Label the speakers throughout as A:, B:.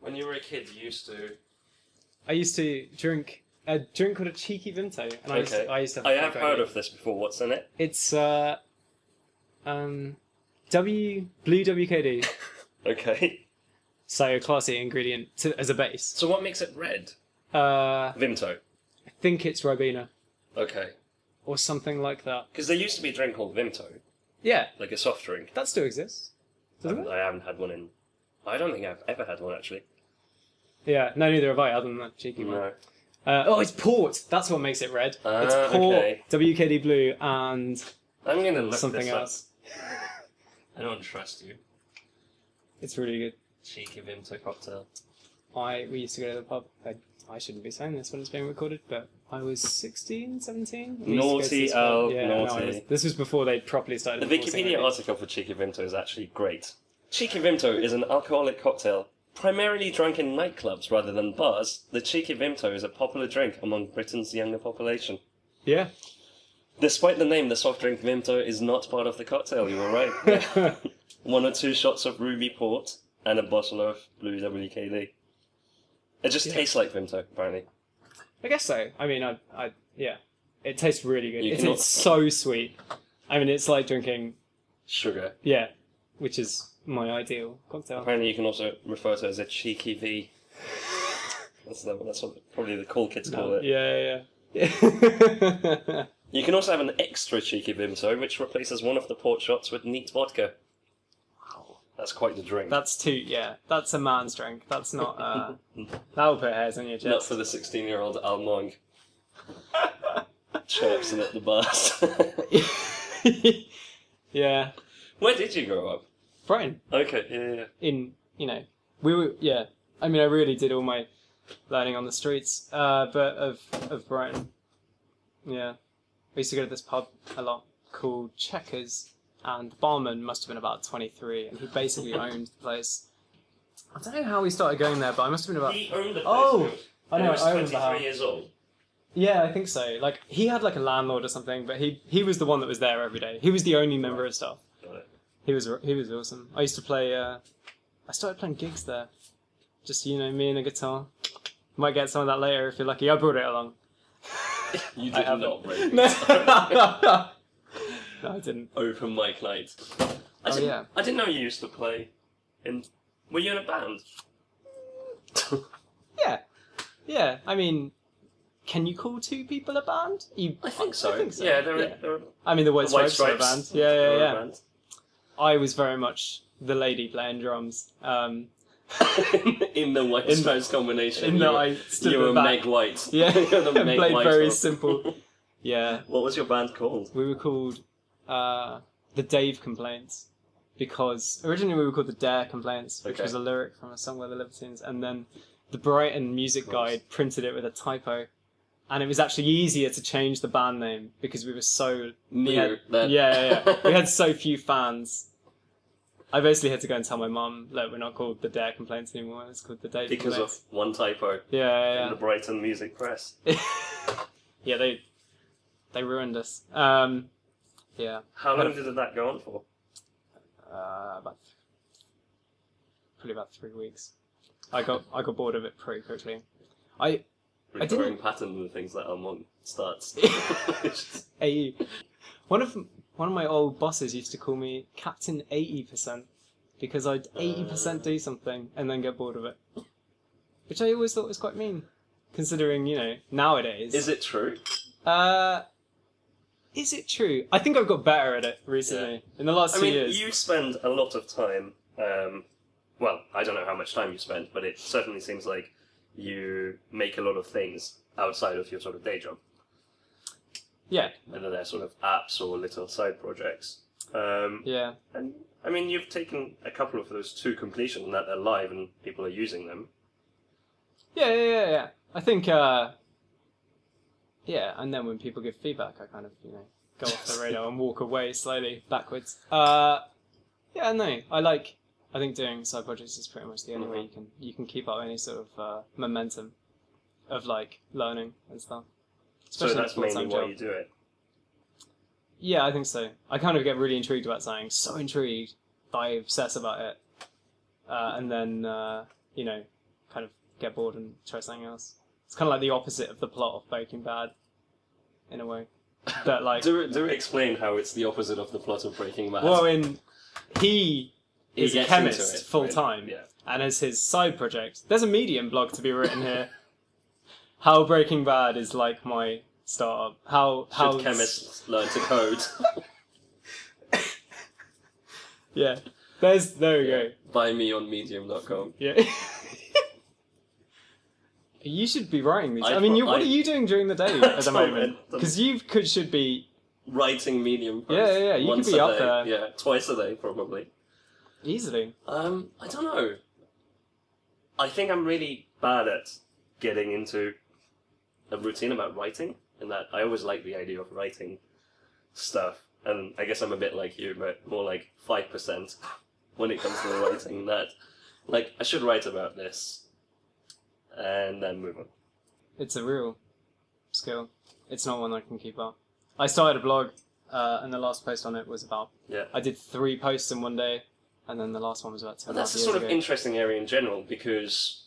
A: when you were a kid, you used to.
B: I used to drink a drink called a cheeky Vimto, and I used
C: Okay.
B: to, I used to.
C: I have
B: a
C: heard of this before. What's in it?
B: It's uh, um, W blue WKD,
C: Okay.
B: so a classy ingredient to, as a base.
C: So what makes it red?
B: Uh,
C: Vimto.
B: I think it's Ribena
C: Okay.
B: or something like that.
C: Because there used to be a drink called Vimto,
B: Yeah,
C: like a soft drink.
B: that still exists.
C: I
B: Doesn't
C: haven't,
B: it?
C: I haven't had one in. I don't think I've ever had one actually. Hmm.
B: Yeah, no, neither have I. Other than that cheeky one.
C: No.
B: Uh, oh, it's port. That's what makes it red. it's
C: Ah,
B: port,
C: okay.
B: WKD blue, and
C: I'm gonna look
B: something
C: this up.
B: else.
A: I don't trust you.
B: It's really good.
A: Cheeky Vimto cocktail.
B: I we used to go to the pub. I, I shouldn't be saying this when it's being recorded, but I was 16, 17. We used to go to
C: Naughty,
B: this pub.
C: Al,
B: no, I
C: naughty.
B: was- this was before they properly started.
C: The
B: enforcing
C: Wikipedia
B: it.
C: article for Cheeky Vimto is actually great. Cheeky Vimto is an alcoholic cocktail primarily drunk in nightclubs rather than bars. The Cheeky Vimto is a popular drink among Britain's younger population.
B: Yeah.
C: Despite the name, the soft drink Vimto is not part of the cocktail. You were right. One or two shots of ruby port and a bottle of blue WKD. It just
B: Yeah.
C: tastes like Vimto, apparently.
B: I guess so. I mean, I, I yeah, it tastes really good.
C: You
B: It,
C: cannot-
B: It's so sweet. I mean, it's like drinking
C: Sugar.
B: yeah, which is my ideal cocktail.
C: Apparently, you can also refer to it as a cheeky V. That's, the, that's what probably the cool kids call
B: No,
C: it.
B: yeah, yeah, yeah.
C: You can also have an extra cheeky Vimto, which replaces one of the port shots with neat vodka. That's quite the drink.
B: that's too yeah. That's a man's drink. That's not. Uh, that'll put hairs on your chest.
C: Not for the 16-year-old Almong chirpsing at the bars.
B: yeah,
C: Where did you grow up?
B: Brighton.
C: Okay, yeah, yeah, yeah.
B: in you know we were yeah i mean i really did all my learning on the streets uh but of of brighton yeah we used to go to this pub a lot called checkers and the barman must have been about 23 and he basically owned the place i don't know how we started going there but i must have been about
A: He owned the place.
B: Oh!
A: dude.
B: i
A: And
B: know
A: he was
B: i remember
A: 23
B: how
A: years old.
B: yeah i think so like he had like a landlord or something but he he was the one that was there every day he was the only member of staff
A: Got it.
B: he was he was awesome. I used to play. Uh, I started playing gigs there. Just you know, me and a guitar. Might get some of that later if you're lucky. I brought it along.
C: You
B: I
C: did
B: haven't.
C: not break
B: No,
C: it.
B: No, I didn't.
C: Open mic night. I
B: Oh,
C: didn't,
B: yeah.
C: I didn't know you used to play. In were you in a band?
B: Yeah, yeah. I mean, can you call two people a band? You,
C: I think so.
B: I think so.
C: Yeah, they're,
B: Yeah.
C: they're
B: I mean, the White
C: The White
B: Stripes, were a
C: Stripes.
B: band. Yeah,
C: they're
B: yeah,
C: a
B: yeah.
C: band.
B: I was very much the lady playing drums. Um,
C: in the White
B: In-
C: Stripes combination.
B: in
C: you
B: that
C: were-
B: I stood
C: you
B: in the
C: were
B: back.
C: Meg White.
B: yeah,
C: You're the
B: and
C: Meg
B: played
C: White
B: very
C: of-
B: simple. Yeah.
C: What was your band called?
B: we were called uh, the Dave Complaints because originally we were called the Dare Complaints, which
C: Okay.
B: was a lyric from a song by the Libertines, and then the Brighton Music
C: Nice.
B: Guide printed it with a typo, and it was actually easier to change the band name because we were so we had-
C: New. then.
B: yeah, yeah, yeah. we had so few fans. I basically had to go and tell my mum, look, we're not called the Dare Complaints anymore. It's called the Dave
C: because of
B: Complaints.
C: one typo in
B: yeah,
C: the Brighton Music Press.
B: yeah, yeah. yeah, they they ruined us. Um, yeah.
C: How
B: Had
C: long did that go on for?
B: uh, about probably about three weeks. I got I got bored of it pretty quickly. I I didn't-
C: Recurring pattern of the things that Almond starts.
B: AE. One of one of my old bosses used to call me Captain eighty percent because I'd eighty percent do something and then get bored of it, which I always thought was quite mean, considering you know nowadays.
C: Is it true?
B: Uh, is it true? I think I've got better at it recently in the last
C: I
B: two
C: mean,
B: years.
C: you spend a lot of time. Um, well, I don't know how much time you spend, but it certainly seems like you make a lot of things outside of your sort of day job.
B: Yeah,
C: whether they're sort of apps or little side projects. Um,
B: yeah.
C: and I mean, you've taken a couple of those to completion and that they're live and people are using them.
B: Yeah, yeah, yeah, yeah. I think, uh, yeah, and then when people give feedback, I kind of, you know, go off the radar and walk away slowly backwards. Uh, yeah, no, I like. I think doing side projects is pretty much the only way
C: Mm-hmm.
B: you can you can keep up any sort of uh, momentum of like learning and stuff.
C: so
B: in a
C: that's mainly
B: full-time
C: why
B: job.
C: you do it.
B: Yeah, I think so. I kind of get really intrigued about something, so intrigued that I obsess about it, uh, and then uh, you know, kind of get bored and try something else. It's kind of like the opposite of the plot of Breaking Bad, in a way. That like,
C: do do explain how it's the opposite of the plot of Breaking Bad.
B: well, in he
C: He
B: is a
C: gets into
B: chemist
C: it,
B: full
C: right?
B: time,
C: Yeah.
B: and as his side project, there's a Medium blog to be written here. how Breaking Bad is like my startup. How
C: Should
B: how
C: chemists learn to code
B: Yeah, there's there we go.
C: by me on medium.com.
B: Yeah. you should be writing these.
C: I
B: I, mean,
C: pro-
B: you, what
C: I-
B: are you doing during the day
C: I
B: at the
C: don't
B: moment?
C: know.
B: Because you could should be.
C: Writing medium posts
B: Yeah, yeah, yeah, you could
C: once
B: be
C: a
B: up
C: day.
B: there.
C: Yeah, twice a day probably.
B: Easily.
C: Um, I don't know. I think I'm really bad at getting into a routine about writing, and that I always like the idea of writing stuff. And I guess I'm a bit like you, but more like five percent when it comes to the writing. That, like, I should write about this, and then move on.
B: It's a real skill. It's not one I can keep up. I started a blog, uh, and the last post on it was about.
C: Yeah.
B: I did three posts in one day, and then the last one was about two
C: But
B: and a half
C: that's a sort
B: years
C: of
B: ago.
C: interesting area in general because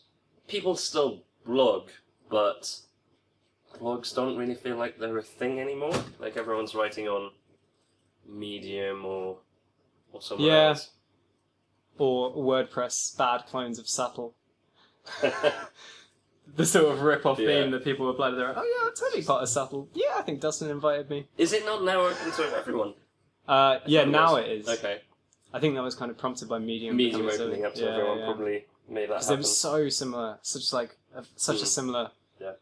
C: people still blog, but blogs don't really feel like they're a thing anymore. Like everyone's writing on Medium or or somewhere
B: Yeah.
C: else.
B: or WordPress bad clones of Sattel. The sort of rip-off
C: Yeah.
B: theme that people apply to their own. Oh yeah, I'm totally part of Sattel. Yeah, I think Dustin invited me.
C: Is it not now open to everyone?
B: Uh, yeah,
C: It
B: now
C: was.
B: it is.
C: Okay.
B: I think that was kind of prompted by Medium.
C: Medium
B: becoming so-
C: opening up to
B: yeah,
C: everyone
B: yeah.
C: probably made that
B: 'Cause they
C: happen.
B: were so similar, such like a, such a
C: Mm.
B: similar.
C: Yeah.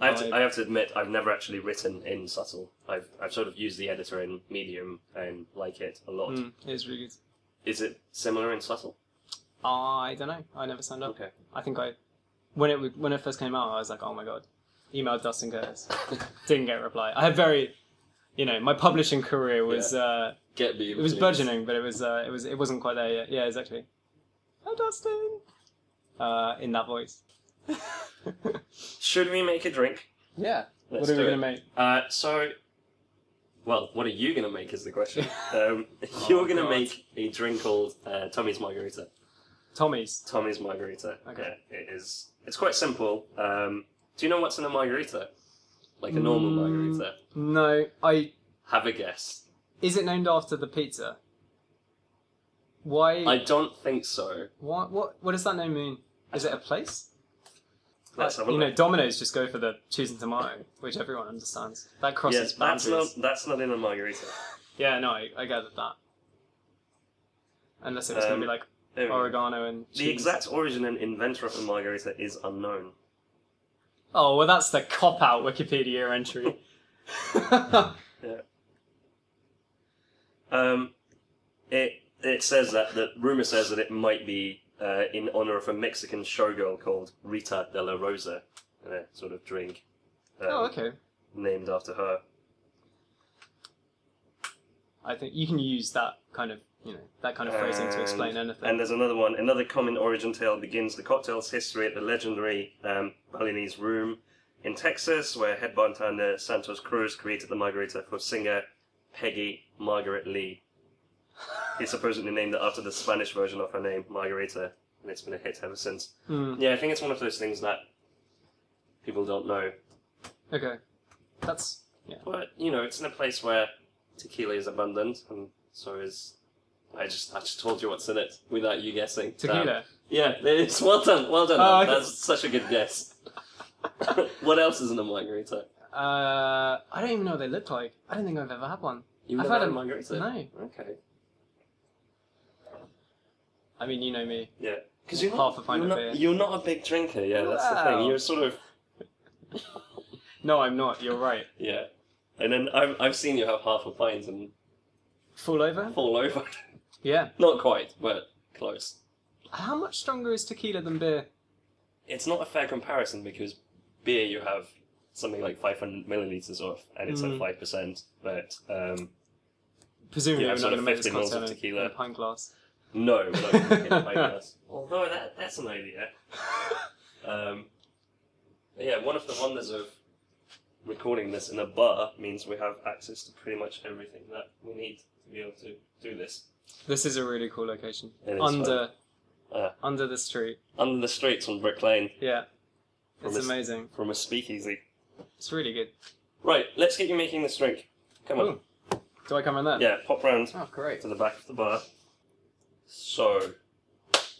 C: I have,
B: vibe.
C: to, I have to admit, I've never actually written in Subtle. I've, I've sort of used the editor in Medium and like it a lot.
B: Mm, it was really good.
C: Is it similar in Subtle?
B: I don't know. I never signed up.
C: Okay.
B: I think I when it w- when it first came out, I was like, oh my god. Emailed Dustin Curtis. Didn't get a reply. I had very, you know, my publishing career was uh,
C: Get me.
B: it was
C: please.
B: burgeoning, but it was uh, it was it wasn't quite there yet. Yeah, exactly. Hi, Dustin. Uh, in that voice.
C: Should we make a drink?
B: yeah.
C: Let's
B: what are
C: do
B: we
C: it.
B: gonna make?
C: Uh, so, well, what are you gonna make is the question. Um, you're gonna
B: Oh, God.
C: make a drink called uh, Tommy's Margarita.
B: Tommy's.
C: Tommy's Margarita.
B: Okay.
C: Yeah, it is. It's quite simple. Um, do you know what's in a margarita? Like a normal
B: Mm.
C: margarita.
B: No, I
C: Have a guess.
B: Is it named after the pizza? Why?
C: I don't think so.
B: What? What? What does that name mean? Is it a place?
C: Let's
B: Like,
C: have a
B: you know,
C: look.
B: Domino's just go for the cheese and tomato, which everyone understands. That crosses
C: Yes, that's
B: boundaries.
C: not that's not in a margarita.
B: Yeah, no, I, I gathered that. Unless it was
C: Um,
B: going to be like
C: There we go.
B: oregano and cheese.
C: The exact origin and inventor of the margarita is unknown.
B: Oh well, that's the cop out Wikipedia entry.
C: Um, it it says that the rumor says that it might be uh, in honor of a Mexican showgirl called Rita de la Rosa, and a sort of drink um,
B: oh okay.
C: named after her.
B: I think you can use that kind of you know that kind of phrasing to explain
C: And-
B: anything.
C: Um, And there's another one. Another common origin tale begins the cocktail's history at the legendary um, Balinese Room in Texas, where head bartender Santos Cruz created the margarita for singer Peggy Margaret Lee. He supposedly named it after the Spanish version of her name, Margarita, and it's been a hit ever since.
B: Hmm,
C: Yeah, I think it's one of those things that people don't know.
B: okay, that's yeah.
C: But you know, it's in a place where tequila is abundant, and so is. I just I just told you what's in it without you guessing.
B: Tequila.
C: Damn. yeah, it's well done. Well done.
B: Oh, okay.
C: That's such a good guess. what else is in a margarita?
B: Uh, I don't even know what they look like. I don't think I've ever had one.
C: You've
B: I've
C: never
B: had
C: had a
B: a-
C: margarita.
B: no.
C: Okay.
B: I mean, you know me.
C: Yeah. Because you're
B: Half
C: not,
B: a pint
C: you're not,
B: of beer.
C: You're not a big drinker. Yeah, that's the
B: Wow.
C: thing. You're sort of
B: No, I'm not. You're right.
C: yeah. And then I've I've seen you have half a pint and
B: Fall over?
C: fall over.
B: Yeah.
C: not quite, but close.
B: How much stronger is tequila than beer?
C: it's not a fair comparison because beer you have something like 500 milliliters of and it's
B: Mm.
C: at 5% but um,
B: Presumably,
C: Yeah,
B: we're not
C: sort of
B: going to make this
C: 50 mils
B: cocktail
C: of
B: in-
C: tequila.
B: in a pint glass.
C: no we're not gonna get it like this. although that, that's an idea um, but yeah one of the wonders of recording this in a bar means we have access to pretty much everything that we need to be able to do this
B: This is a really cool location.
C: It is
B: Under
C: Uh.
B: under the street.
C: Under the streets on Brick Lane
B: Yeah,
C: From
B: it's
C: this-
B: amazing.
C: from a speakeasy.
B: It's really good.
C: Right, let's get you making this drink. Come on.
B: Ooh. Do I come in there?
C: Yeah, pop round
B: Oh, great.
C: to the back of the bar. So,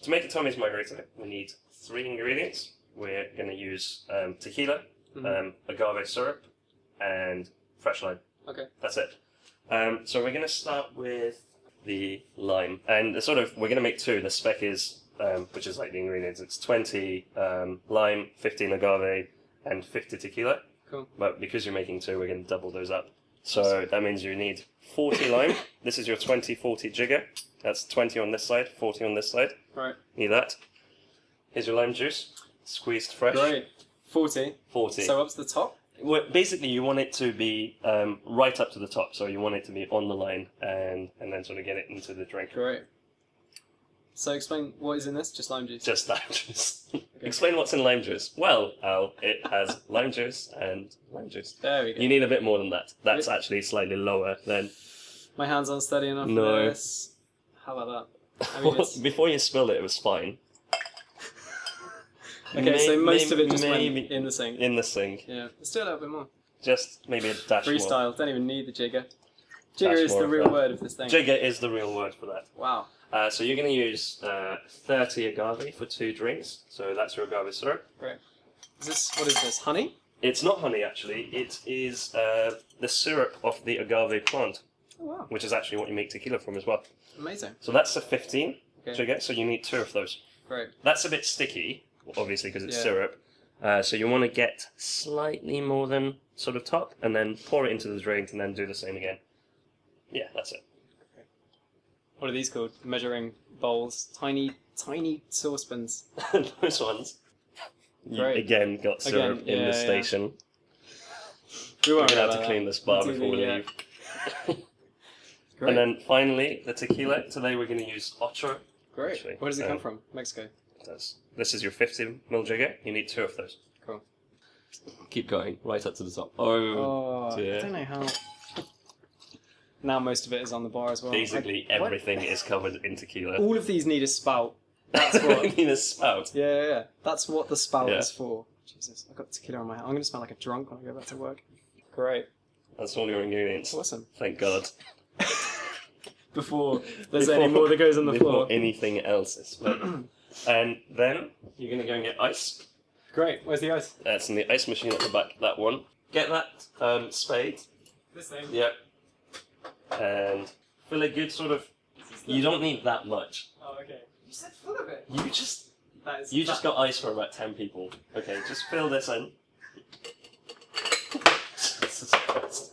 C: to make a Tommy's margarita, we need three ingredients. We're going to use um, tequila,
B: Mhm.
C: um, agave syrup, and fresh lime.
B: Okay.
C: That's it. Um, so we're going to start with the lime, and the sort of we're going to make two. The spec is, um, which is like the ingredients. It's twenty um, lime, fifteen agave, and fifty tequila.
B: Cool.
C: But because you're making two, we're going to double those up. So that means you need 40 lime. This is your 20 40 jigger. That's 20 on this side, 40 on this side.
B: Right.
C: Need that. Here's your lime juice, squeezed fresh.
B: Great. Forty.
C: 40.
B: So up to the top.
C: Well, basically, you want it to be um, right up to the top, so you want it to be on the line and, and then sort of get it into the drink.
B: Great. So explain what is in this? Just lime juice.
C: Just lime juice. Explain what's in lime juice. Well, Al, it has lime juice and lime juice.
B: there we go.
C: You need a bit more than that. That's actually slightly lower than.
B: My hands aren't steady enough
C: No.
B: for this. How about I mean, it's-
C: Before you spilled it, it was fine.
B: that? Okay, so
C: May-
B: most of
C: may-
B: it just went
C: maybe-
B: in the sink.
C: in the sink.
B: Yeah, let's do a little bit more.
C: Just maybe a dash more.
B: Freestyle. Don't even need the jigger. Jigger
C: Dash
B: is
C: more
B: the
C: of
B: real
C: that.
B: word of this thing.
C: Jigger is the real word for that.
B: Wow.
C: Uh, so you're going to use uh, 30 agave for two drinks. So that's your agave syrup.
B: Is this what is this? Honey?
C: It's not honey, actually. It is uh, the syrup of the agave plant,
B: Oh wow,
C: which is actually what you make tequila from as well.
B: amazing.
C: So that's the 15
B: Okay.
C: jigger. So you need two of those.
B: Great.
C: That's a bit sticky, obviously, because it's
B: Yeah.
C: syrup. Uh, so you want to get slightly more than sort of top, and then pour it into the drink, and then do the same again. Yeah, that's it.
B: What are these called? Measuring bowls? Tiny, tiny saucepans.
C: those ones. You
B: Great.
C: again got syrup
B: Again,
C: in
B: yeah,
C: the
B: yeah.
C: station.
B: We
C: We're
B: won't
C: gonna
B: have
C: have to clean this bar
B: We'll do
C: before we
B: the, uh,
C: leave.
B: Great.
C: And then finally, the tequila. Today we're going to use Ocho.
B: Great.
C: actually,
B: Where does it come
C: um,
B: from? Mexico.
C: That's- This is your 50 mil jigger. You need two of those.
B: Cool.
C: Keep going, right up to the top. Oh,
B: Oh, I
C: dear.
B: don't know how. Now most of it is on the bar as well. Oh, I-
C: basically
B: what?
C: everything is covered in tequila.
B: All of these need a spout. That's
C: I
B: what.
C: mean, a spout.
B: yeah, yeah, yeah. That's what the spout
C: Yeah.
B: is for. Jesus, I've got tequila on my hand. I'm going to smell like a drunk when I go back to work. Great.
C: That's all your ingredients.
B: Awesome.
C: Thank God.
B: Before there's any
C: Before-
B: more that goes on the
C: Before
B: floor.
C: anything else is spoiled. and then you're going to go and get ice.
B: Great. Where's the ice?
C: That's in the ice machine at the back, that one. Get that um, spade.
B: This thing.
C: Yep. And fill a good sort of. You don't need that much.
B: Oh, okay. You said full of it.
C: You just
B: That is.
C: you just got ice for about ten people. Okay, just fill this in. Jesus Christ.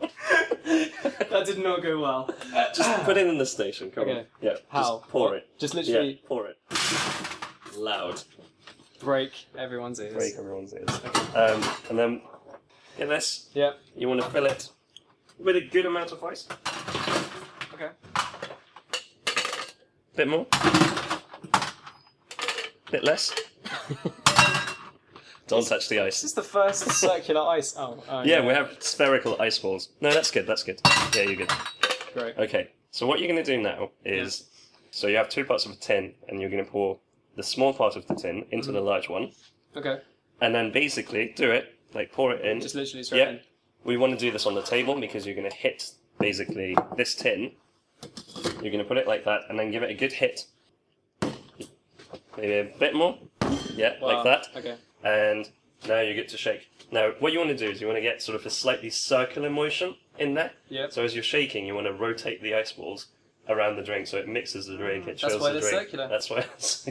B: That did not go well.
C: just put it in the station. Come on.
B: Okay.
C: Yeah.
B: How?
C: Just pour it.
B: Just
C: Yeah.
B: literally
C: Pour it. Loud.
B: break everyone's ears.
C: Break everyone's ears. Um, and then get this.
B: Yep.
C: You want to fill it with a good amount of ice.
B: Okay.
C: Bit more. Bit less. Don't touch the
B: This
C: ice.
B: is the first circular ice. Oh, oh
C: Yeah, we have spherical ice balls. No, that's good, that's good. Yeah, you're good.
B: Great.
C: Okay, so what you're going to do now is so you have two parts of a tin, and you're going to pour the small part of the tin into
B: Mm-hmm.
C: the large one,
B: Okay.
C: and then basically do it, like pour it in.
B: Just literally straight
C: Yeah.
B: in.
C: We want to do this on the table because you're going to hit basically this tin. You're going to put it like that and then give it a good hit. Maybe a bit more. Yeah, like
B: Wow.
C: that.
B: Okay.
C: And now you get to shake. Now, what you want to do is you want to get sort of a slightly circular motion in there.
B: Yeah.
C: So as you're shaking, you want to rotate the ice balls around the drink so it mixes the drink, it
B: Mm, That's
C: chills
B: why
C: the
B: they're
C: drink.
B: circular.
C: That's why.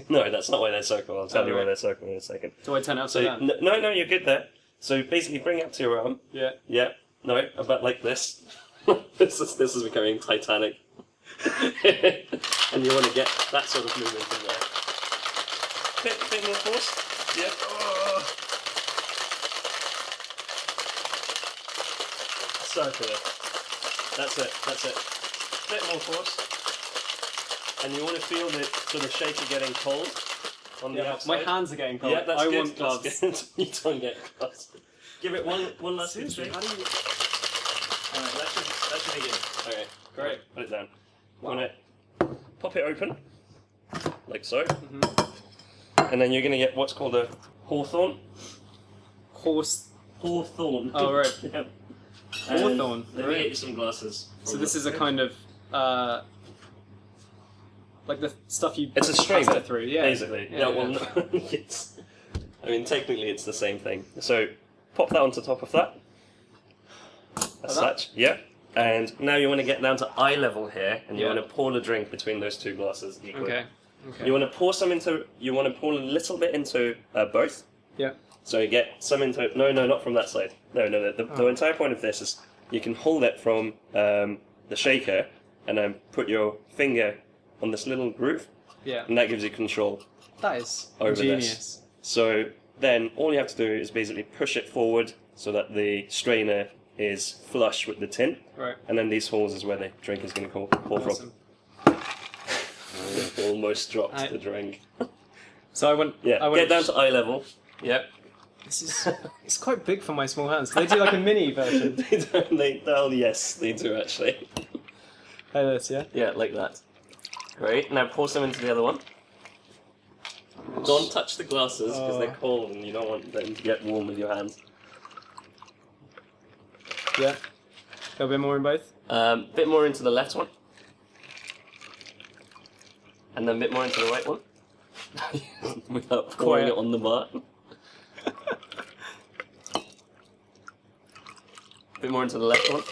C: no, that's not why they're circular. I'll tell
B: Oh,
C: you
B: right.
C: why they're circular in a second.
B: Do I turn it
C: So,
B: upside down?
C: n- no, no, you're good there. So basically bring up to your arm.
B: Yeah.
C: Yeah, no, about like this. this is this is becoming Titanic. and you want to get that sort of movement in there. Bit, bit more force. Yeah. Oh. Circular. That's it. That's it. Bit more force. And you want to feel the sort of shaker getting cold on the
B: Yeah,
C: outside.
B: my hands are getting cold.
C: Yeah, that's
B: I
C: good.
B: want gloves.
C: that's good. you don't get gloves. Give it one one last good
B: Seriously,
C: shake.
B: how do you...
C: Alright, that should, that should be good. Alright,
B: Great.
C: Put it down.
B: Wow.
C: Wanna pop it open. like so. Mm-hmm. And then you're going to get what's called a hawthorn.
B: Horse.
C: Hawthorn.
B: Oh, right.
C: Yep.
B: Hawthorn,
C: Let me
B: right.
C: get you some glasses.
B: So
C: from
B: this
C: the
B: is a
C: fridge.
B: kind of uh, like the stuff you
C: It's a strainer,
B: pasta through. Yeah.
C: Basically.
B: Yeah,
C: Yeah,
B: yeah.
C: well, no, it's, I mean, technically it's the same thing. So pop that onto top of that. As
B: that?
C: such. Yeah. And now you want to get down to eye level here, and you
B: Yeah.
C: want to pour the drink between those two glasses equally.
B: Okay. Okay.
C: You want to pour some into. You want to pour a little bit into uh, both.
B: Yeah.
C: So you get some into. No, no, not from that side. No, no. The, the, the
B: Oh.
C: entire point of this is you can hold it from um, the shaker and then put your finger on this little groove,
B: yeah.
C: and that gives you control.
B: That is
C: Mm. Over this.
B: ingenious.
C: So then all you have to do is basically push it forward so that the strainer is flush with the tin,
B: Right.
C: and then these holes is where the drink is going to pour
B: Awesome.
C: from. Almost dropped
B: I-
C: the drink.
B: So I went.
C: Yeah.
B: I went
C: Get down to eye level. Yep.
B: This is. It's quite big for my small hands. They do like a mini version.
C: they don't. They, oh, yes, they do actually.
B: Like this, yeah.
C: Yeah, like that. Great. Now pour some into the other one. Don't touch the glasses because
B: Oh.
C: they're cold and you don't want them to get warm with your hands.
B: Yeah. A little bit more in both.
C: Um, bit more into the left one, and then bit more into the right one. Without pouring
B: Quiet.
C: it on the bar. bit more into the left one.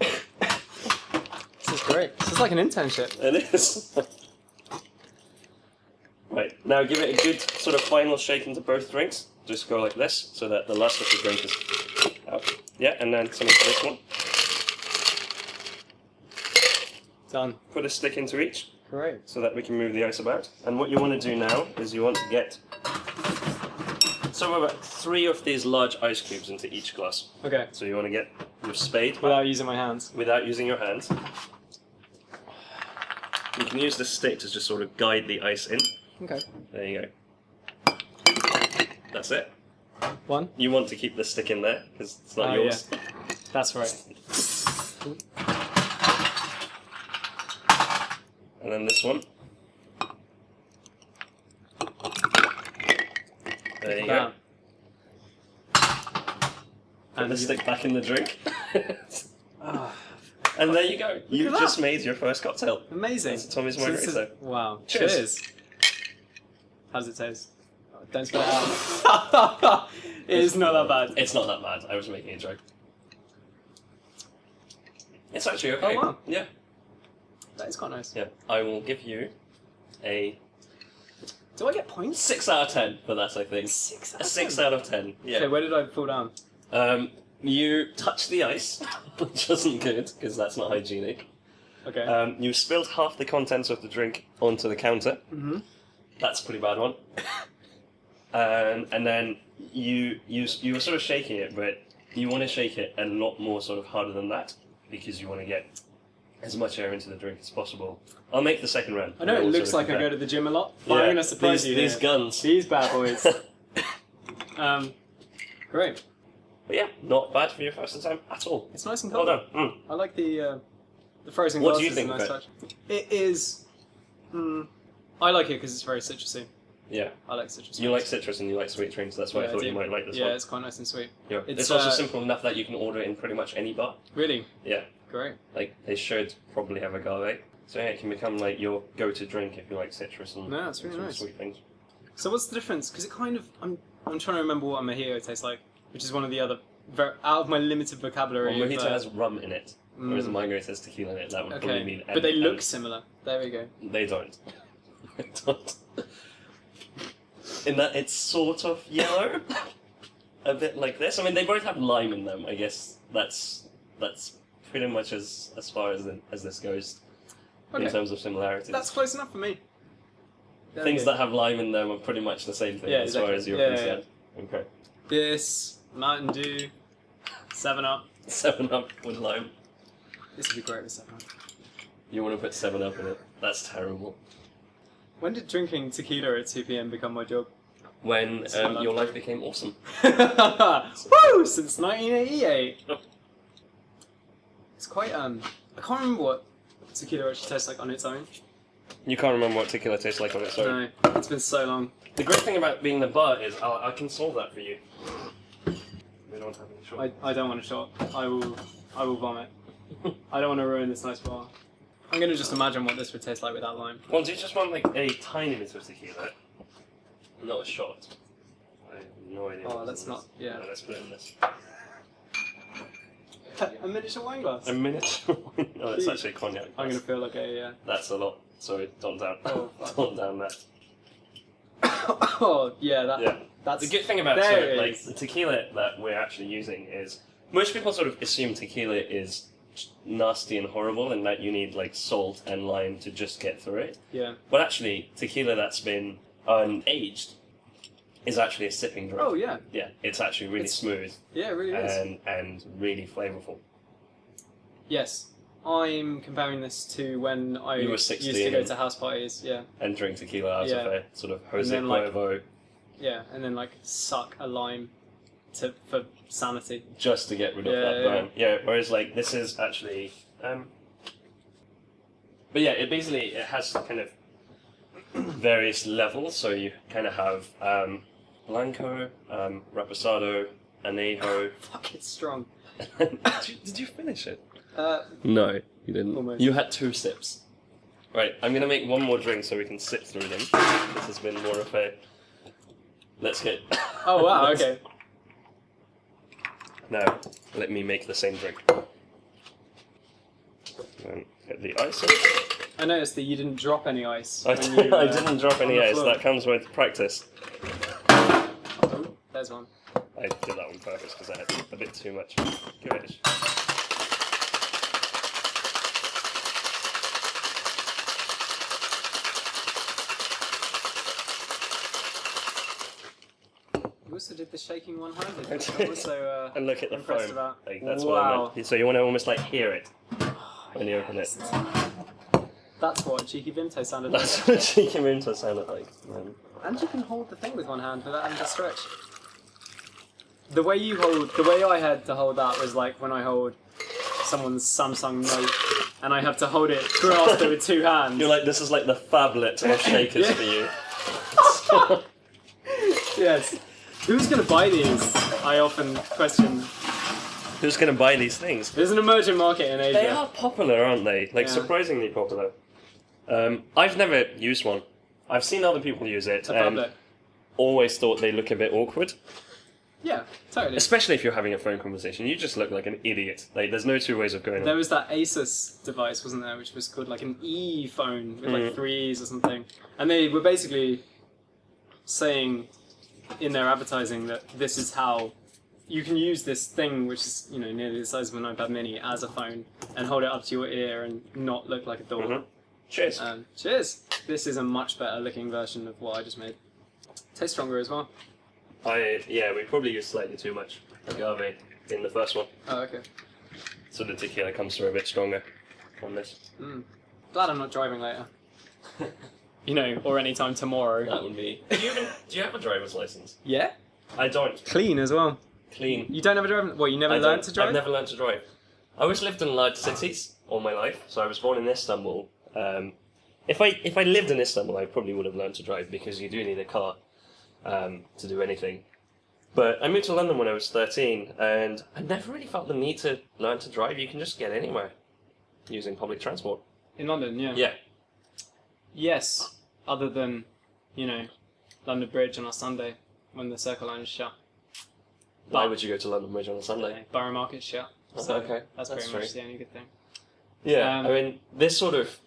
B: This is great. This is like an internship.
C: It is. right, now give it a good sort of final shake into both drinks. Just go like this, so that the last of the drink is out. Yeah, and then some of this one.
B: Done.
C: Put a stick into each,
B: Great.
C: so that we can move the ice about. And what you want to do now is you want to get somewhere about three of these large ice cubes into each glass.
B: Okay.
C: So you want to get your spade
B: Without using my hands.
C: without using your hands. You can use the stick to just sort of guide the ice in.
B: Okay.
C: There you go. That's it.
B: One.
C: You want to keep the stick in there because it's not
B: Oh,
C: yours.
B: That's right.
C: And then this one. There you go.
B: Bam.
C: Put the
B: Ah, And you-
C: stick back in the drink.
B: Ah,
C: and there you go. You've
B: at
C: just
B: that.
C: made your first cocktail.
B: amazing.
C: It's Tommy's
B: So this
C: margarita.
B: is- wow.
C: Cheers.
B: Cheers. How's it taste? Oh, Don't spill it out. it is not that bad.
C: It's not that bad. I was making a joke. It's actually okay.
B: Oh, wow.
C: Yeah.
B: That is quite nice.
C: Yeah. I will give you a
B: Do I get points?
C: six out of ten for that. I think
B: Six.
C: a six out of ten. Yeah.
B: Okay, where did I fall down?
C: Um, you touch the ice, which isn't good because that's not hygienic.
B: Okay.
C: Um, you spilled half the contents of the drink onto the counter.
B: mm-hmm.
C: That's a pretty bad one. um, and then you you you were sort of shaking it, but you want to shake it a lot more sort of harder than that because you want to get as much air into the drink as possible. I'll make the second round.
B: I know it
C: We'll
B: looks
C: sort
B: like
C: of
B: I go
C: compare.
B: to the gym a lot, but I'm
C: Yeah,
B: gonna surprise
C: these,
B: you.
C: These
B: here.
C: guns.
B: These bad boys.
C: but
B: um, great.
C: yeah, not bad for your first attempt at all.
B: It's nice and
C: Well
B: cold.
C: done. Mm.
B: I like the uh, the frozen
C: What
B: glass
C: do you
B: is
C: think
B: a
C: of
B: nice
C: it?
B: touch. It is. Mm, I like it because it's very citrusy.
C: Yeah.
B: I like citrus.
C: You like
B: ones.
C: citrus and you like sweet drinks, that's why
B: Yeah,
C: I
B: I
C: thought
B: do.
C: you might like this
B: Yeah,
C: one.
B: it's quite nice and sweet.
C: Yeah. It's,
B: It's,
C: also
B: uh,
C: simple enough that you can order it in pretty much any bar.
B: Really.
C: Yeah.
B: Great.
C: Like they should probably have agave. So yeah, it can become like your go-to drink if you like citrus and
B: No, it's really
C: some
B: nice.
C: sweet things.
B: So what's the difference? Because it kind of I'm I'm trying to remember what a mojito tastes like, which is one of the other ver out of my limited
C: Well,
B: vocabulary. of,
C: mojito
B: uh,
C: has rum in it,
B: mm,
C: whereas a margarita has tequila in it. That would probably mean.
B: okay,
C: and-
B: but they look
C: and
B: similar. There we go.
C: They don't. They don't. In that it's sort of yellow, a bit like this. I mean, they both have lime in them. I guess that's that's pretty much as as far as as this goes in
B: Okay,
C: terms of similarities.
B: that's close enough for me. There we
C: Things
B: go.
C: that have lime in them are pretty much the same thing
B: Yeah,
C: as far
B: exactly.
C: as you're
B: Yeah,
C: concerned. Okay.
B: this Mountain Dew, Seven Up.
C: Seven up with lime.
B: This would be great with Seven Up.
C: You want to put seven up in it? That's terrible.
B: When did drinking tequila at two p.m. become my job?
C: When
B: Seven
C: um,
B: Up.
C: your life became awesome.
B: Woo! Since 1988. It's quite um. I can't remember what tequila actually tastes like on its own,
C: You can't remember what tequila tastes like on its own.
B: No, it's been so long.
C: The great thing about being the butt is I'll, I can solve that for you. We don't have any short.
B: I, I don't want a shot. I will I will vomit. I don't want to ruin this nice bar. I'm gonna just imagine what this would taste like without lime.
C: Well, do you just want like a tiny bit of tequila? Not a shot. I have no idea.
B: Oh,
C: what's
B: let's
C: in
B: not-
C: this.
B: yeah.
C: No, let's put it in this.
B: A miniature wine glass.
C: A miniature wine. Oh, that's
B: Jeez.
C: actually cognac.
B: I'm gonna feel like a. Uh...
C: That's a lot. Sorry, don't down.
B: Oh, fuck.
C: don't down that.
B: oh yeah, that
C: Yeah.
B: that's
C: The good thing about
B: There
C: sort of,
B: it
C: like
B: is.
C: the tequila that we're actually using is most people sort of assume tequila is nasty and horrible, and that you need like salt and lime to just get through it.
B: yeah.
C: Well, actually, tequila that's been unaged is actually a sipping drink.
B: Oh yeah,
C: Yeah, it's actually really
B: It's-
C: smooth
B: yeah, it really is.
C: and and really flavorful.
B: Yes, I'm comparing this to when I
C: You were
B: used
C: 16
B: to go
C: and-
B: to house parties. Yeah,
C: And drink tequila out of
B: Yeah.
C: a sort of Jose
B: then, like-
C: Cuervo
B: yeah, and then like suck a lime to for sanity.
C: just to get rid of
B: Yeah,
C: that
B: yeah,
C: lime. Yeah. Whereas like this is actually. Um, but yeah, it basically it has kind of various levels. So you kind of have um, blanco, um, reposado, anejo.
B: Fuck, it's strong.
C: did, you, did you finish it?
B: Uh,
C: No, you didn't.
B: Almost.
C: You had two sips. Right, I'm gonna make one more drink so we can sip through them. This has been more of a. Let's get.
B: oh wow, okay.
C: Now, let me make the same drink. And get the ice.
B: I noticed that you didn't drop any ice.
C: I,
B: when you,
C: I
B: uh,
C: didn't drop
B: on
C: any
B: the
C: ice.
B: floor.
C: That comes with practice.
B: Oh, there's one.
C: I did that on purpose because I had a bit too much. Give it. a sh-
B: You also did the shaking one-handed.
C: I
B: which I'm
C: did.
B: Also, uh,
C: And look at the
B: Impressed
C: foam.
B: about-
C: Like, that's
B: Wow.
C: what I meant. So you want to almost like hear it when you open it.
B: that's what cheeky Vimto sounded like.
C: That's what cheeky Minto sounded like. Um,
B: And you can hold the thing with one hand without having to stretch. The way you hold, the way I had to hold that was like when I hold someone's Samsung Note, and I have to hold it grasped it with two hands.
C: You're like, this is like the phablet of shakers
B: Yeah.
C: for you.
B: yes. Who's gonna buy these? I often question.
C: Who's going to buy these things?
B: There's an emerging market in Asia.
C: They are popular, aren't they? Like,
B: Yeah.
C: surprisingly popular. Um, I've never used one. I've seen other people use it
B: The
C: and
B: public.
C: always thought they look a bit awkward.
B: Yeah, totally.
C: Especially if you're having a phone conversation, you just look like an idiot. Like, there's no two ways of going.
B: There was that Asus device, wasn't there, which was called like an E phone with like
C: Mm.
B: three E's or something. And they were basically saying in their advertising that this is how you can use this thing, which is you know nearly the size of an iPad Mini, as a phone and hold it up to your ear and not look like a door.
C: Mhm. Cheers.
B: Um, cheers! This is a much better looking version of what I just made. Tastes stronger as well.
C: I yeah, we probably used slightly too much agave in the first one,
B: Oh, okay.
C: so the tequila comes through a bit stronger on this.
B: Mm. Glad I'm not driving later. You know, or anytime tomorrow.
C: that would be. Do you, even, do you have a driver's license?
B: Yeah?
C: I don't.
B: Clean as well.
C: Clean.
B: You don't have a driving. Well, you never
C: I
B: learned
C: don't-
B: to drive.
C: I've never learned to drive. I always lived in large cities all my life, so I was born in Istanbul. Um, if I if I lived in Istanbul, I probably would have learned to drive because you do need a car um, to do anything. But I moved to London when I was thirteen, and I never really felt the need to learn to drive. You can just get anywhere using public transport.
B: In London, yeah.
C: Yeah,
B: Yes, other than, you know, London Bridge on a Sunday when the Circle Line is shut,
C: why would you go to London Bridge on a Sunday?
B: like, Borough Market's shut.
C: Oh,
B: So
C: okay.
B: that's,
C: That's
B: pretty much
C: true.
B: the only good thing.
C: Yeah,
B: Um,
C: I mean, this sort of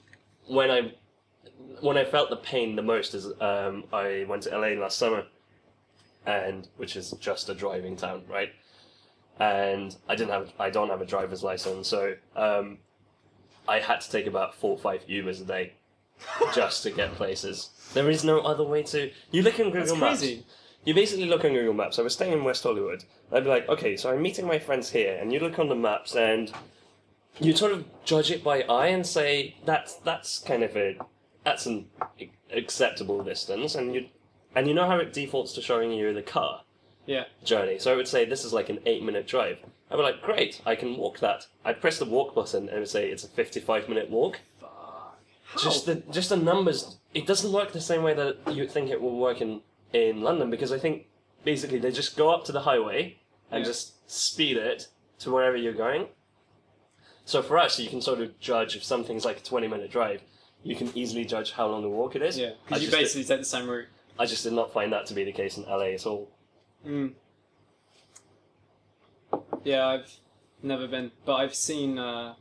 C: when I when I felt the pain the most is um, I went to LA last summer, and which is just a driving town, right? And I didn't have I don't have a driver's license, so um, I had to take about four or five Ubers a day just to get places. There is no other way to. You look in Google
B: That's
C: Maps.
B: crazy.
C: You basically look on Google Maps. I was staying in West Hollywood. I'd be like, okay, so I'm meeting my friends here, and you look on the maps, and you sort of judge it by eye and say that's that's kind of a that's an acceptable distance, and you and you know how it defaults to showing you the car
B: Yeah.
C: journey. So I would say this is like an eight-minute drive. I'd be like, great, I can walk that. I'd press the walk button and it would say it's a fifty-five minute walk.
B: Fuck.
C: Just the just the numbers. It doesn't work the same way that you would think it will work in in London because I think basically they just go up to the highway and
B: Yeah.
C: just speed it to wherever you're going. So for us, you can sort of judge if something's like a twenty minute drive. You can easily judge how long the walk it is.
B: Yeah,
C: I
B: because you
C: just did-
B: basically take the same route.
C: I just did not find that to be the case in LA at all.
B: Mm. Yeah, I've never been, but I've seen. Uh,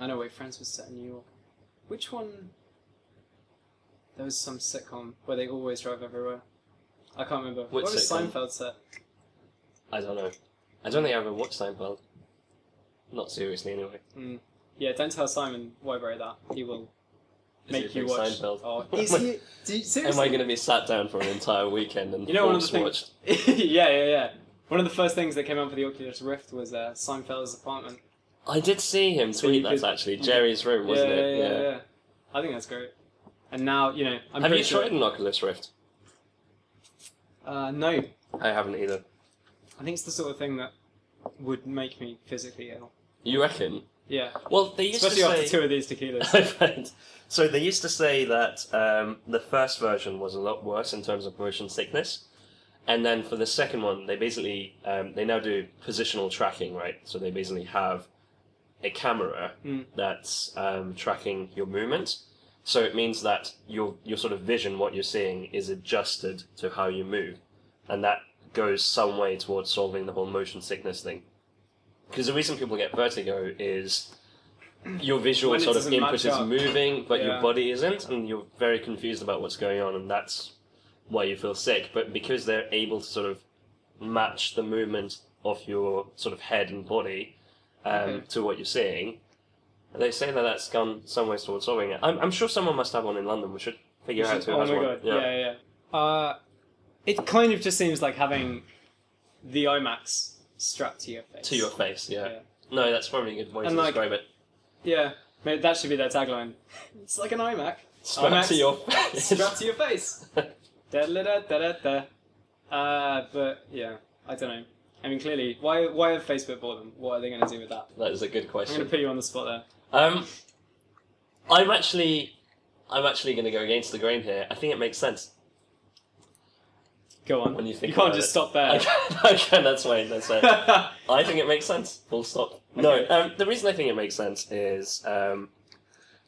B: I know wait, Friends was set in New York. Which one? There was some sitcom where they always drive everywhere. I can't remember.
C: Which
B: what was
C: sitcom?
B: Seinfeld set?
C: I don't know. I don't think I ever watched Seinfeld. Not seriously, anyway.
B: Yeah, don't tell Simon Wyberry that. He will
C: Is
B: make
C: he a
B: you
C: big
B: watch.
C: Seinfeld?
B: Oh, is he? Do you,
C: Am
B: seriously?
C: I going to be sat down for an entire weekend and
B: You know, one of
C: force
B: the
C: watch?
B: yeah, yeah, yeah. One of the first things that came out for the Oculus Rift was uh, Seinfeld's apartment.
C: I did see him
B: So
C: tweet
B: you
C: that
B: could-
C: actually. Jerry's room, wasn't
B: yeah,
C: it?
B: Yeah, yeah, yeah. I think that's great. And now, you know, I'm
C: Have
B: pretty
C: you
B: sure.
C: tried an Oculus Rift?
B: Uh, no, I
C: I haven't either.
B: think it's the sort of thing that would make me physically ill.
C: You reckon?
B: Yeah,
C: Well, they used
B: especially after
C: to say.
B: two of these tequilas.
C: I've heard. So they used to say that um, the first version was a lot worse in terms of motion sickness, and then for the second one, they basically um, they now do positional tracking, right? So they basically have a camera
B: Mm.
C: that's um, tracking your movement. So it means that your your sort of vision, what you're seeing, is adjusted to how you move, and that goes some way towards solving the whole motion sickness thing. Because the reason people get vertigo is your visual
B: When it
C: sort of
B: doesn't
C: input
B: match
C: is
B: up.
C: moving, but
B: Yeah.
C: your body isn't, and you're very confused about what's going on, and that's why you feel sick. But because they're able to sort of match the movement of your sort of head and body um,
B: Okay.
C: to what you're seeing, they say that that's gone some ways towards solving it. I'm, I'm sure someone must have one in London. We should figure out who
B: oh
C: has
B: my
C: one.
B: god! Yeah, yeah. yeah. Uh, it kind of just seems like having the IMAX strapped to your face.
C: To your face, yeah.
B: Yeah.
C: No, that's probably a good way
B: And
C: to
B: like- oh,
C: describe it.
B: Yeah, maybe that should be their tagline. It's like an IMAX
C: Strapped
B: IMAX.
C: to your face.
B: strapped to your face. da da da da da. Uh, but yeah, I don't know. I mean, clearly, why why have Facebook bought them? What are they going to do with that?
C: that is a good
B: I'm going
C: question.
B: to put you on the spot there.
C: Um, I'm actually, I'm actually going to go against the grain here. I think it makes sense.
B: Go on.
C: When you think
B: can't
C: about
B: just
C: it.
B: stop there.
C: I can, that's fine. That's fine. I think it makes sense. Full stop. No,
B: Okay.
C: um, the reason I think it makes sense is um,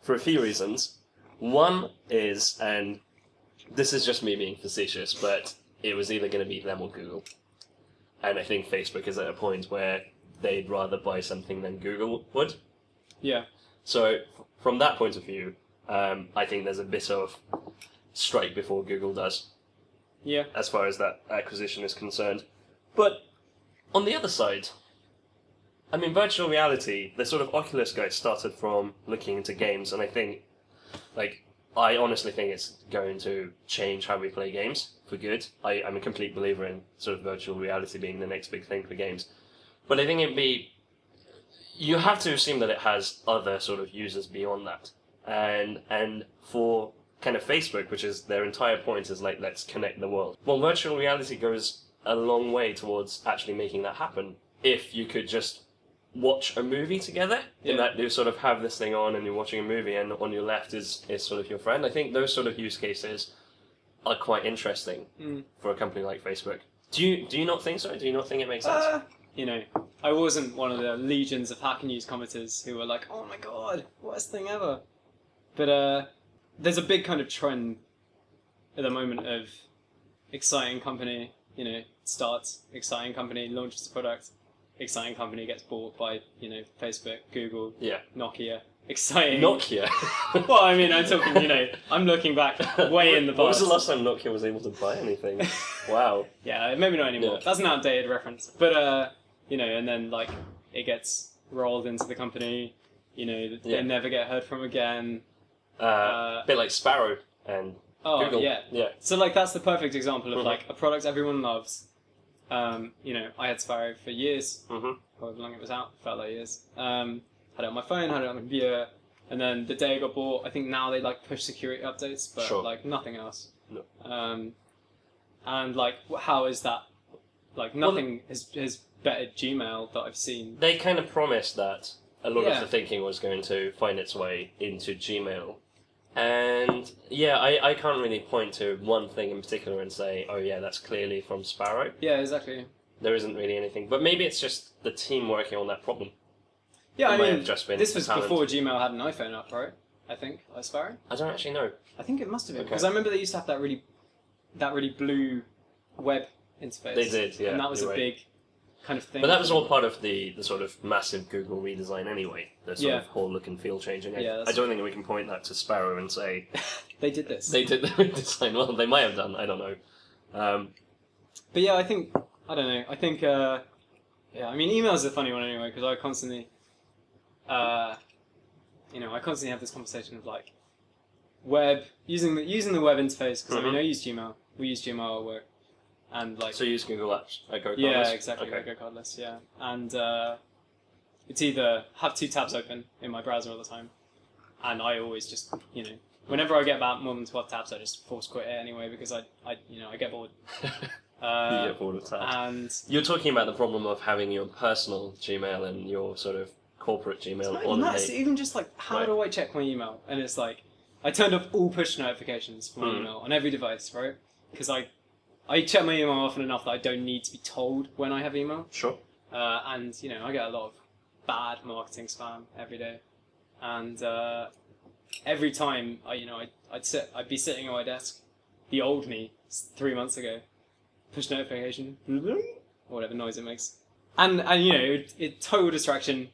C: for a few reasons. One is, and this is just me being facetious, but it was either going to be them or Google. And I think Facebook is at a point where they'd rather buy something than Google would.
B: yeah.
C: So, from that point of view, um, I think there's a bit of strike before Google does
B: Yeah.
C: as far as that acquisition is concerned. But on the other side, I mean, virtual reality, the sort of Oculus guy started from looking into games, and I think, like, I honestly think it's going to change how we play games for good. I, I'm a complete believer in sort of virtual reality being the next big thing for games. But I think it'd be. You have to assume that it has other sort of users beyond that. And, and for kind of Facebook, which is their entire point is like, let's connect the world. Well, virtual reality goes a long way towards actually making that happen. If you could just watch a movie together,
B: Yeah.
C: in that you sort of have this thing on and you're watching a movie, and on your left is, is sort of your friend, I think those sort of use cases are quite interesting
B: Mm.
C: for a company like Facebook. Do you, do you not think so? Do you not think it makes sense?
B: Uh, you know, I wasn't one of the legions of Hacker News commenters who were like, "Oh my god, worst thing ever." But uh, there's a big kind of trend at the moment of exciting company, you know, starts exciting company launches a product, exciting company gets bought by you know Facebook, Google,
C: Yeah.
B: Nokia. Exciting.
C: Nokia.
B: well, I mean, I'm talking. You know, I'm looking back way in the
C: When was
B: past.
C: the last time Nokia was able to buy anything? Wow.
B: Yeah, maybe not anymore.
C: Yeah.
B: That's an outdated reference. But uh, you know, and then like it gets rolled into the company. You know, they
C: Yeah.
B: never get heard from again.
C: Uh,
B: Uh,
C: a bit like Sparrow and
B: Oh
C: Google.
B: yeah.
C: Yeah.
B: So like that's the perfect example of
C: Mhm.
B: like a product everyone loves. Um, you know, I had Sparrow for years,
C: Mm-hmm.
B: however long it was out, felt like years. Um, had it on my phone, had it on my computer, and then the day it got bought, I think now they like push security updates, but
C: Sure.
B: like nothing else.
C: No.
B: Um, and like, wh- how is that? Like
C: Well,
B: nothing has has bettered Gmail that I've seen.
C: They kind of promised that a lot
B: Yeah.
C: of the thinking was going to find its way into Gmail. And yeah, I, I can't really point to one thing in particular and say, oh yeah, that's clearly from Sparrow.
B: Yeah, exactly.
C: There isn't really anything, but maybe it's just the team working on that problem.
B: Yeah,
C: It
B: I
C: may
B: mean,
C: have just been
B: this was
C: talent.
B: before Gmail had an iPhone up, right? I think, like Sparrow.
C: I don't actually know.
B: I think it must have been
C: Okay.
B: because I remember they used to have that really, that really blue web interface.
C: They did, yeah.
B: and that was a
C: you're right.
B: big kind of thing.
C: But that was all part of the, the sort of massive Google redesign anyway. The sort
B: Yeah.
C: of whole look and feel changing. I,
B: Yeah, that's-
C: I don't think we can point that to Sparrow and say
B: they did this.
C: they did the redesign. Well, they might have done. I don't know. Um,
B: But yeah, I think I don't know. I think uh, yeah, I mean, email's a funny one anyway because I constantly, uh, you know, I constantly have this conversation of like web using the using the web interface because I mean
C: Mhm.
B: I use Gmail, we use Gmail at work, and like
C: so use Google Apps. I go.
B: yeah,
C: colours?
B: exactly,
C: Okay.
B: go cardless, yeah, and uh, it's either have two tabs open in my browser all the time, and I always just you know. Whenever I get about more than twelve tabs, I just force quit it anyway because I, I you know, I get bored. Uh,
C: you get bored of that.
B: and
C: You're talking about the problem of having your personal Gmail and your sort of corporate
B: it's
C: Gmail
B: not
C: on
B: even that. It's even just like, how
C: Right.
B: do I check my email? And it's like, I turned off all push notifications for my
C: Hmm.
B: email on every device, right? Because I, I check my email often enough that I don't need to be told when I have email.
C: Sure.
B: Uh, and you know, I get a lot of bad marketing spam every day, and uh, every time I, you know, I'd, I'd sit, I'd be sitting at my desk, the old me s- three months ago, push notification, whatever noise it makes, and and you know, it, it total distraction.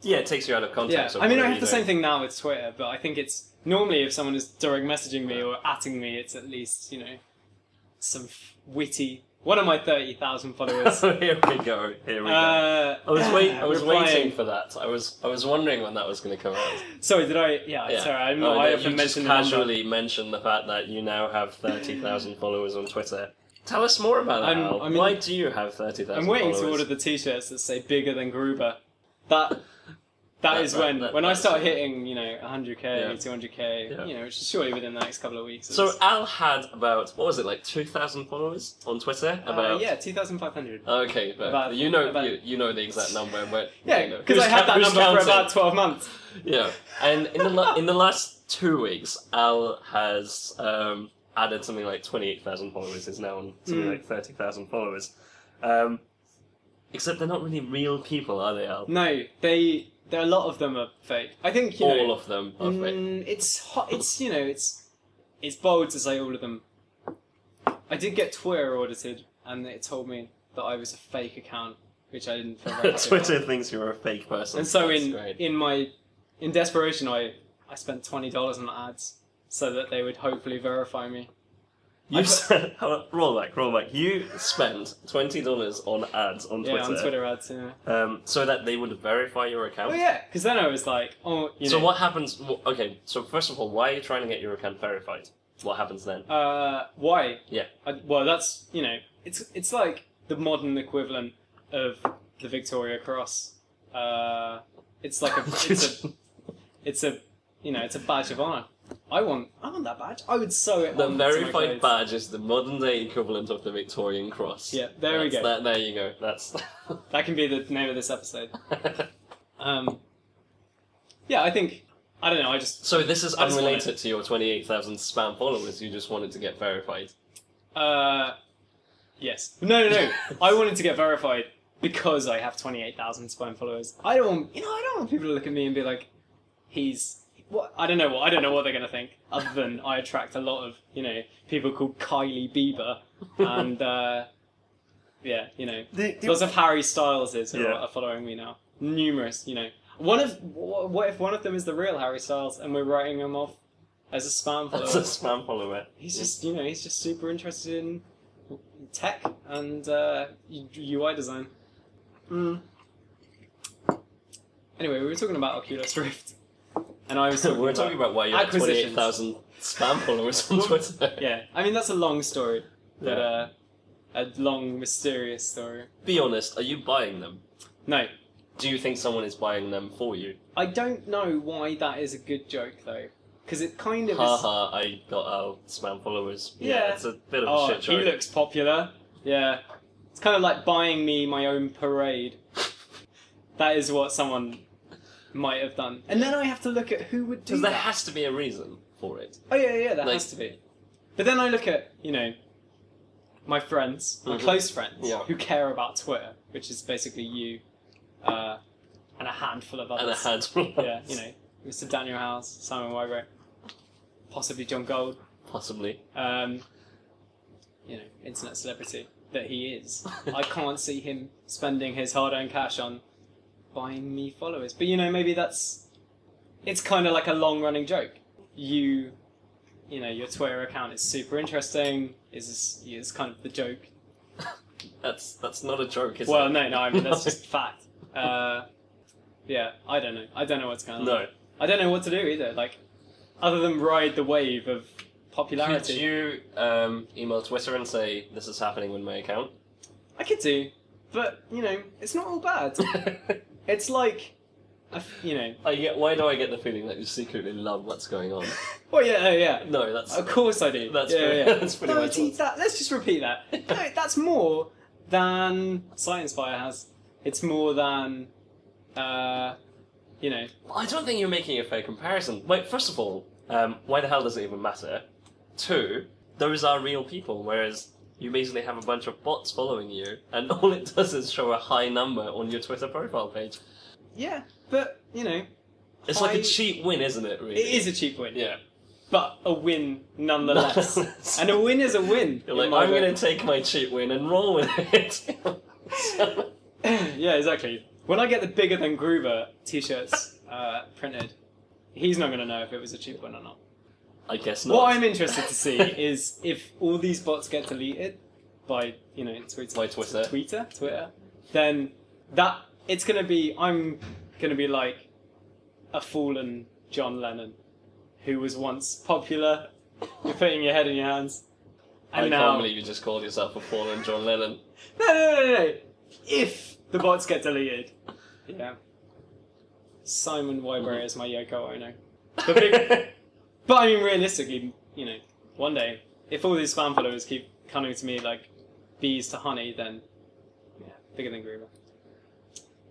C: Yeah, it takes you out of
B: Yeah,
C: context. of
B: I mean,
C: what
B: I have
C: you're
B: the
C: doing.
B: same thing now with Twitter, but I think it's normally if someone is direct messaging me or atting me, it's at least you know some f- witty. One of my thirty thousand followers.
C: Here we go. Here we go.
B: Uh,
C: I was Oh, wait. I was
B: replying.
C: waiting for that. I was. I was wondering when that was going to come out.
B: Sorry, did I? Yeah,
C: Yeah.
B: sorry. I'm
C: Oh,
B: not,
C: no,
B: I
C: you just
B: often mention the number.
C: casually mentioned the fact that you now have thirty thousand followers on Twitter. Tell us more about that.
B: I'm-
C: Al.
B: I mean-
C: Why do you have thirty thousand?
B: I'm waiting
C: followers?
B: to order the t-shirts that say bigger than Gruber. That
C: That-
B: that is
C: that-
B: when
C: that-
B: when I
C: that's-
B: start hitting you know 100k,
C: Yeah.
B: 200k,
C: Yeah.
B: you know, which is surely within the next couple of weeks.
C: So
B: It's-
C: Al had about what was it like two thousand followers on Twitter?
B: uh,
C: About
B: yeah, 2,500.
C: Okay, but
B: About-
C: you know
B: about-
C: you, you know the exact number, but you
B: Yeah,
C: know.
B: because
C: Who's
B: I had
C: count-
B: that
C: who's
B: number for
C: counting?
B: about 12 months.
C: Yeah, and in the la- in the last two weeks, Al has um, added something like twenty eight thousand followers. Is now on something
B: Mm.
C: like thirty thousand followers. Um, except they're not really real people, are they, Al?
B: No, they there a lot of them are fake. I think you know,
C: All of them are fake.
B: Mm, it's hot. It's you know, it's it's bold to say all of them. I did get Twitter audited, and it told me that I was a fake account, which I didn't feel very happy
C: Twitter
B: about.
C: thinks you're a fake person.
B: And so
C: That's
B: in
C: great.
B: in my in desperation, I I spent twenty dollars on ads so that they would hopefully verify me.
C: you
B: I've-
C: spent, roll back, roll back. You spent twenty dollars on ads on Twitter,
B: Yeah, on Twitter ads. Yeah.
C: Um, so that they would verify your account.
B: Oh yeah, because then I was like, oh, you
C: so
B: know,
C: what happens? wh- Okay, so first of all, why are you trying to get your account verified? What happens then?
B: Uh, why?
C: Yeah.
B: I, well, that's you know, it's it's like the modern equivalent of the Victoria Cross. Uh, it's like a it's a it's a you know it's a badge of honor. I want I want that badge. I would sew it.
C: the
B: on to my
C: verified
B: clothes.
C: badge is the modern day equivalent of the Victorian cross.
B: Yeah, there we
C: That's-
B: go.
C: That, there you go. That's.
B: That can be the name of this episode. Um, yeah, I think I don't know. I just
C: so this is
B: I just want
C: unrelated to your twenty-eight thousand spam followers. You just wanted to get verified.
B: uh, yes. No, no, no. I wanted to get verified because I have 28,000 spam followers. I don't want, you know, I don't want people to look at me and be like, he's, what, I don't know what, I don't know what they're going to think, other than I attract a lot of, you know, people called Kylie Bieber and, uh, yeah, you know, lots of Harry Styleses who
D: Yeah.
B: are following me now. Numerous, you know. One of, wh- what if one of them is the real Harry Styles and we're writing him off as a spam follower?
C: That's a spam follower.
B: He's just, you know, he's just super interested in tech and uh, UI design. Mm. Anyway, we were talking about Oculus Rift, and I was talking
C: We're
B: about
C: talking about why you have twenty-eight
B: acquisitions.
C: thousand spam followers on Twitter.
B: yeah. I mean, that's a long story, but
C: Yeah.
B: uh, a long mysterious story.
C: Be honest. Are you buying them?
B: No,
C: Do you think someone is buying them for you?
B: I don't know why that is a good joke though, because it kind of
C: Ha
B: is.
C: ha! I got our spam followers.
B: Yeah.
C: it's a bit of a
B: Oh,
C: shit
B: he
C: joke.
B: looks popular. Yeah, it's kind of like buying me my own parade. That is what someone might have done. And then I have to look at who would do
C: Because there
B: that.
C: has to be a reason. for it.
B: Oh yeah, yeah, that
C: Like-
B: has to be. But then I look at you know my friends, my
C: Mhm.
B: close friends,
C: Yeah.
B: who care about Twitter, which is basically you uh, and a handful of
C: And a
B: others.
C: handful.
B: yeah, you know, Mr. Daniel House, Simon Wyrick, possibly John Gold,
C: possibly.
B: um, you know, internet celebrity that he is. I can't see him spending his hard-earned cash on buying me followers. But you know, maybe that's it's kind of like a long-running joke. You, you know, your Twitter account is super interesting. Is is kind of the joke?
C: That's that's not a joke, is
B: well,
C: it?
B: no, no. I mean, that's just fact. Uh, yeah, I don't know. I don't know what's going on.
C: no.
B: I don't know what to do either. Like, other than ride the wave of popularity.
C: Could you um, email Twitter and say this is happening with my account?
B: I could do, but you know, it's not all bad. it's like, I f- you know,
C: I get. Why do I get the feeling that you secretly love what's going on?
B: well, yeah, oh, yeah.
C: No, that's
B: Of course I do.
C: that's
B: yeah,
C: pretty,
B: yeah.
C: that's pretty
B: No,
C: much.
B: it's-
C: What,
B: that, let's just repeat that. No, that's more than Science Fire has. It's more than, uh, you know,
C: Well, I don't think you're making a fair comparison. Wait, first of all, um, why the hell does it even matter? Two, those are real people, whereas you basically have a bunch of bots following you, and all it does is show a high number on your Twitter profile page.
B: yeah. But you know,
C: It's like
B: High-
C: a cheap win, isn't it? Really?
B: it is a cheap win,
C: Yeah.
B: but a win nonetheless. and a win is a win.
C: You're like,
B: in my
C: I'm
B: book.
C: going to take my cheap win and roll with it. So-
B: yeah, exactly. When I get the bigger than Groover t-shirts uh, printed, he's not going to know if it was a cheap one or not.
C: I guess not.
B: What I'm interested to see is if all these bots get deleted by you know Twitter,
C: By Twitter.
B: Twitter, Twitter, then that it's going to be I'm going to be like a fallen John Lennon, who was once popular. You're putting your head in your hands, and
C: I
B: now
C: can't believe you just called yourself a fallen John Lennon.
B: no, no, no, no, no. If the bots get deleted. Yeah. Simon Wyberry is my Yoko Ono. The big- But I mean, realistically, you know, one day, if all these spam followers keep coming to me like bees to honey, then yeah, bigger than Groover.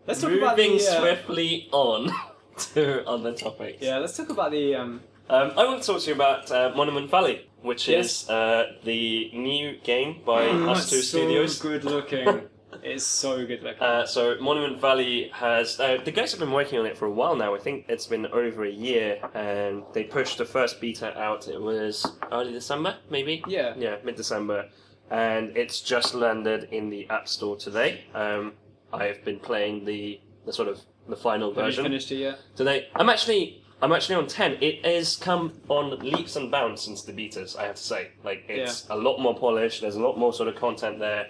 B: Let's talk
C: Moving
B: about the. uh,
C: swiftly on to other topics.
B: Yeah, let's talk about the. Um,
C: Um, I want to talk to you about uh, Monument Valley, which
B: Yes.
C: is uh, the new game by Us
B: Mm, it's
C: Two
B: so
C: Studios.
B: good looking. it's so good looking.
C: Uh, so Monument Valley has uh, the guys have been working on it for a while now. I think it's been over a year, and they pushed the first beta out. It was early December, maybe.
B: yeah.
C: Yeah, mid December, and it's just landed in the App Store today. Um, I have been playing the the sort of the final
B: Have you
C: version
B: finished it yet?
C: today. I'm actually I'm actually on ten. It has come on leaps and bounds since the betas. I have to say, like it's a lot more polished. There's a lot more sort of content there.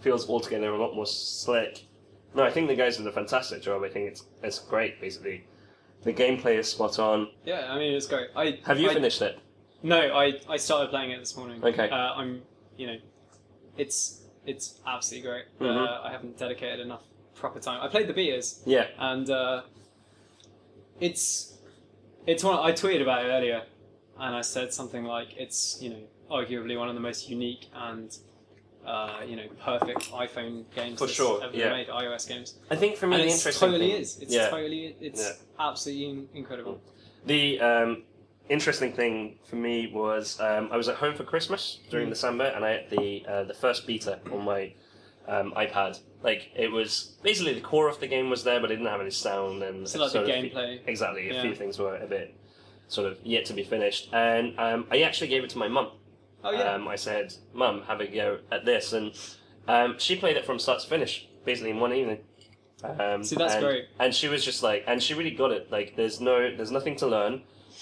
C: Feels altogether a lot more slick. No, I think the guys did a fantastic job. I think it's it's great. Basically, the gameplay is spot on.
B: Yeah, I mean, it's great. I
C: Have you
B: I,
C: finished it?
B: No, I, I started playing it this morning.
C: Okay.
B: Uh, I'm, you know, it's it's absolutely great. Uh,
C: Mhm.
B: I haven't dedicated enough proper time. I played the beaters,
C: Yeah.
B: and uh, it's it's one I tweeted about it earlier, and I said something like it's you know arguably one of the most unique and uh, you know perfect iPhone games
C: For
B: that's
C: sure,
B: ever
C: yeah.
B: made iOS games.
C: I think for me
B: And
C: the
B: it
C: interesting
B: totally
C: thing,
B: is. It's
C: Yeah.
B: totally it's absolutely in- incredible.
C: the um, interesting thing for me was um, I was at home for Christmas during
B: Mm.
C: December, and I had the uh, the first beta on my um, iPad. Like it was basically the core of the game was there, but it didn't have any sound and
B: It's like the
C: sort of-
B: gameplay.
C: Exactly, a
B: Yeah.
C: few things were a bit sort of yet to be finished, and um, I actually gave it to my mum.
B: Oh yeah.
C: Um, I said, "Mum, have a go at this," and um, she played it from start to finish, basically in one evening. Um,
B: See, that's
C: and,
B: great.
C: And she was just like, and she really got it. Like, there's no, there's nothing to learn.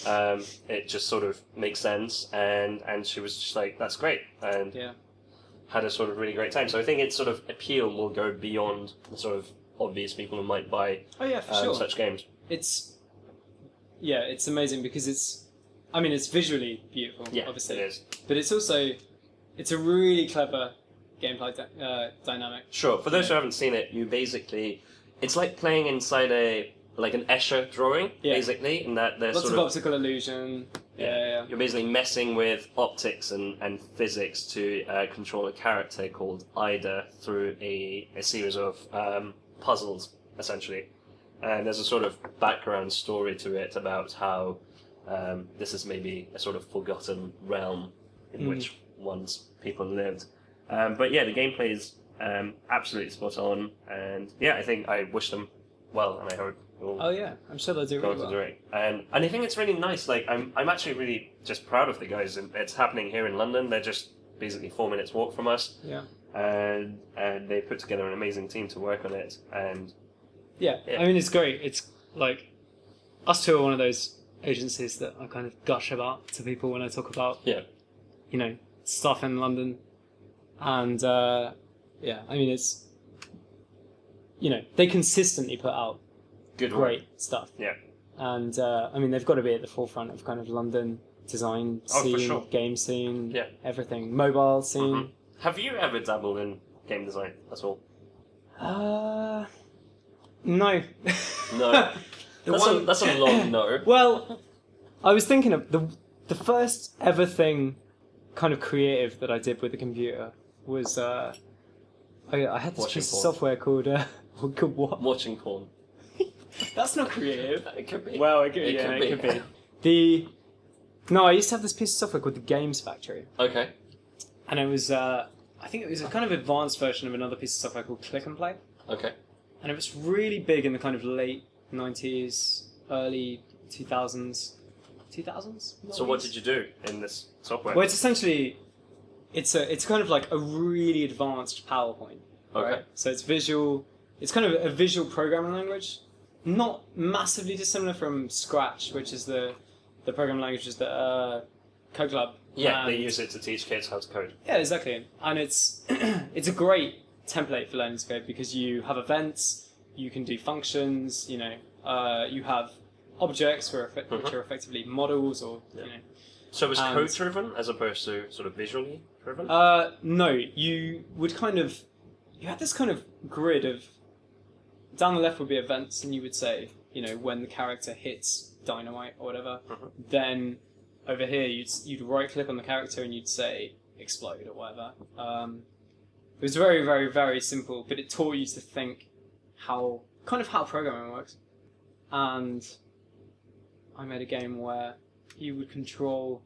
C: Um, it just sort of makes sense, and and she was just like, "That's great," and
B: Yeah.
C: had a sort of really great time. So I think its sort of appeal will go beyond the sort of obvious people who might buy
B: oh yeah, for
C: um,
B: sure.
C: such games.
B: it's yeah, it's amazing because it's I mean it's visually beautiful,
C: Yeah,
B: obviously,
C: it is.
B: but it's also it's a really clever gameplay di- uh, dynamic.
C: Sure. For those who
B: Yeah.
C: haven't seen it, you basically, it's like playing inside a like an Escher drawing,
B: Yeah.
C: basically, and that there's
B: Lots
C: sort
B: of optical illusion. Yeah,
C: Yeah.
B: yeah.
C: You're basically messing with optics and, and physics to uh, control a character called Ida through a, a series of um, puzzles, essentially. And there's a sort of background story to it about how Um, this is maybe a sort of forgotten realm in
B: Mm.
C: which once people lived. Um, but yeah, the gameplay is um, absolutely spot on, and yeah, I think I wish them well, and I hope it will
B: Oh yeah, I'm sure they'll do
C: go
B: really
C: on to
B: well.
C: direct. And and I think it's really nice. Like I'm I'm actually really just proud of the guys, and it's happening here in London. They're just basically four minutes walk from us,
B: Yeah.
C: and and they put together an amazing team to work on it. And
B: yeah,
C: Yeah.
B: I mean, it's great. It's like us two are one of those agencies that I kind of gush about to people when I talk about
C: Yeah.
B: you know, stuff in London, and uh, yeah, I mean, it's you know they consistently put out
C: good work.
B: great stuff.
C: Yeah.
B: And uh, I mean, they've got to be at the forefront of kind of London design
C: Oh, for
B: scene,
C: sure.
B: game scene,
C: Yeah.
B: everything, mobile scene.
C: Have you ever dabbled in game design at all? Mm-hmm.
B: Uh, no.
C: No.
B: The
C: that's, a,
B: one-
C: that's a long no.
B: well, I was thinking of the the first ever thing, kind of creative that I did with a computer was uh, I, I had this
C: Watching
B: piece of
C: porn.
B: software called uh, called what?
C: Watching porn.
B: That's not creative.
C: It could be.
B: Well, it could,
C: It
B: yeah,
C: could
B: it
C: be.
B: could be. The no, I used to have this piece of software called the Games Factory,
C: okay.
B: and it was uh, I think it was a kind of advanced version of another piece of software called Click and Play,
C: Okay.
B: and it was really big in the kind of late '90s, early 2000s, 2000s.
C: So what did you do in this software?
B: Well, it's essentially, it's a, it's kind of like a really advanced PowerPoint.
C: okay.
B: Right? So it's visual. It's kind of a visual programming language, not massively dissimilar from Scratch, which is the the programming languages that uh, Code Lab.
C: Yeah,
B: and-
C: they use it to teach kids how to code.
B: Yeah, exactly. And it's it's a great template for learning to code because you have events, you can do functions. You know, uh, you have objects where, effe- which
C: Mhm.
B: are effectively models or
C: Yeah.
B: you know
C: So it was
B: And-
C: code driven as opposed to sort of visually driven.
B: Uh, no, you would kind of, you had this kind of grid of, down the left would be events, and you would say, you know, when the character hits dynamite or whatever,
C: Mhm.
B: then over here you'd you'd right click on the character and you'd say explode or whatever. Um, it was very very very simple, but it taught you to think how kind of how programming works, and I made a game where you would control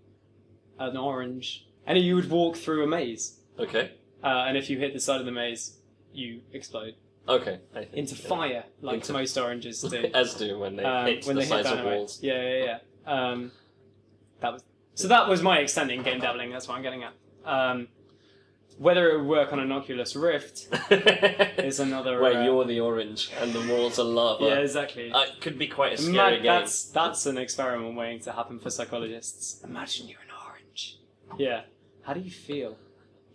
B: an orange, and you would walk through a maze.
C: okay.
B: Uh, and if you hit the side of the maze, you explode
C: Okay. I think,
B: into
C: yeah.
B: fire, like
C: Into-
B: most oranges do.
C: As do when they
B: Um,
C: hit
B: when
C: the
B: they hit
C: sides of
B: dynamite.
C: walls.
B: Yeah, yeah, yeah. Um, that was so. That was my extent in game dabbling. That's what I'm getting at. Um, whether it would work on an Oculus Rift is another.
C: Where
B: uh,
C: you're the orange and the walls are lava.
B: yeah, exactly.
C: Uh, it could be quite a
B: Ma-
C: scary game.
B: That's that's an experiment waiting to happen for psychologists. Imagine you're an orange. Yeah. How do you feel?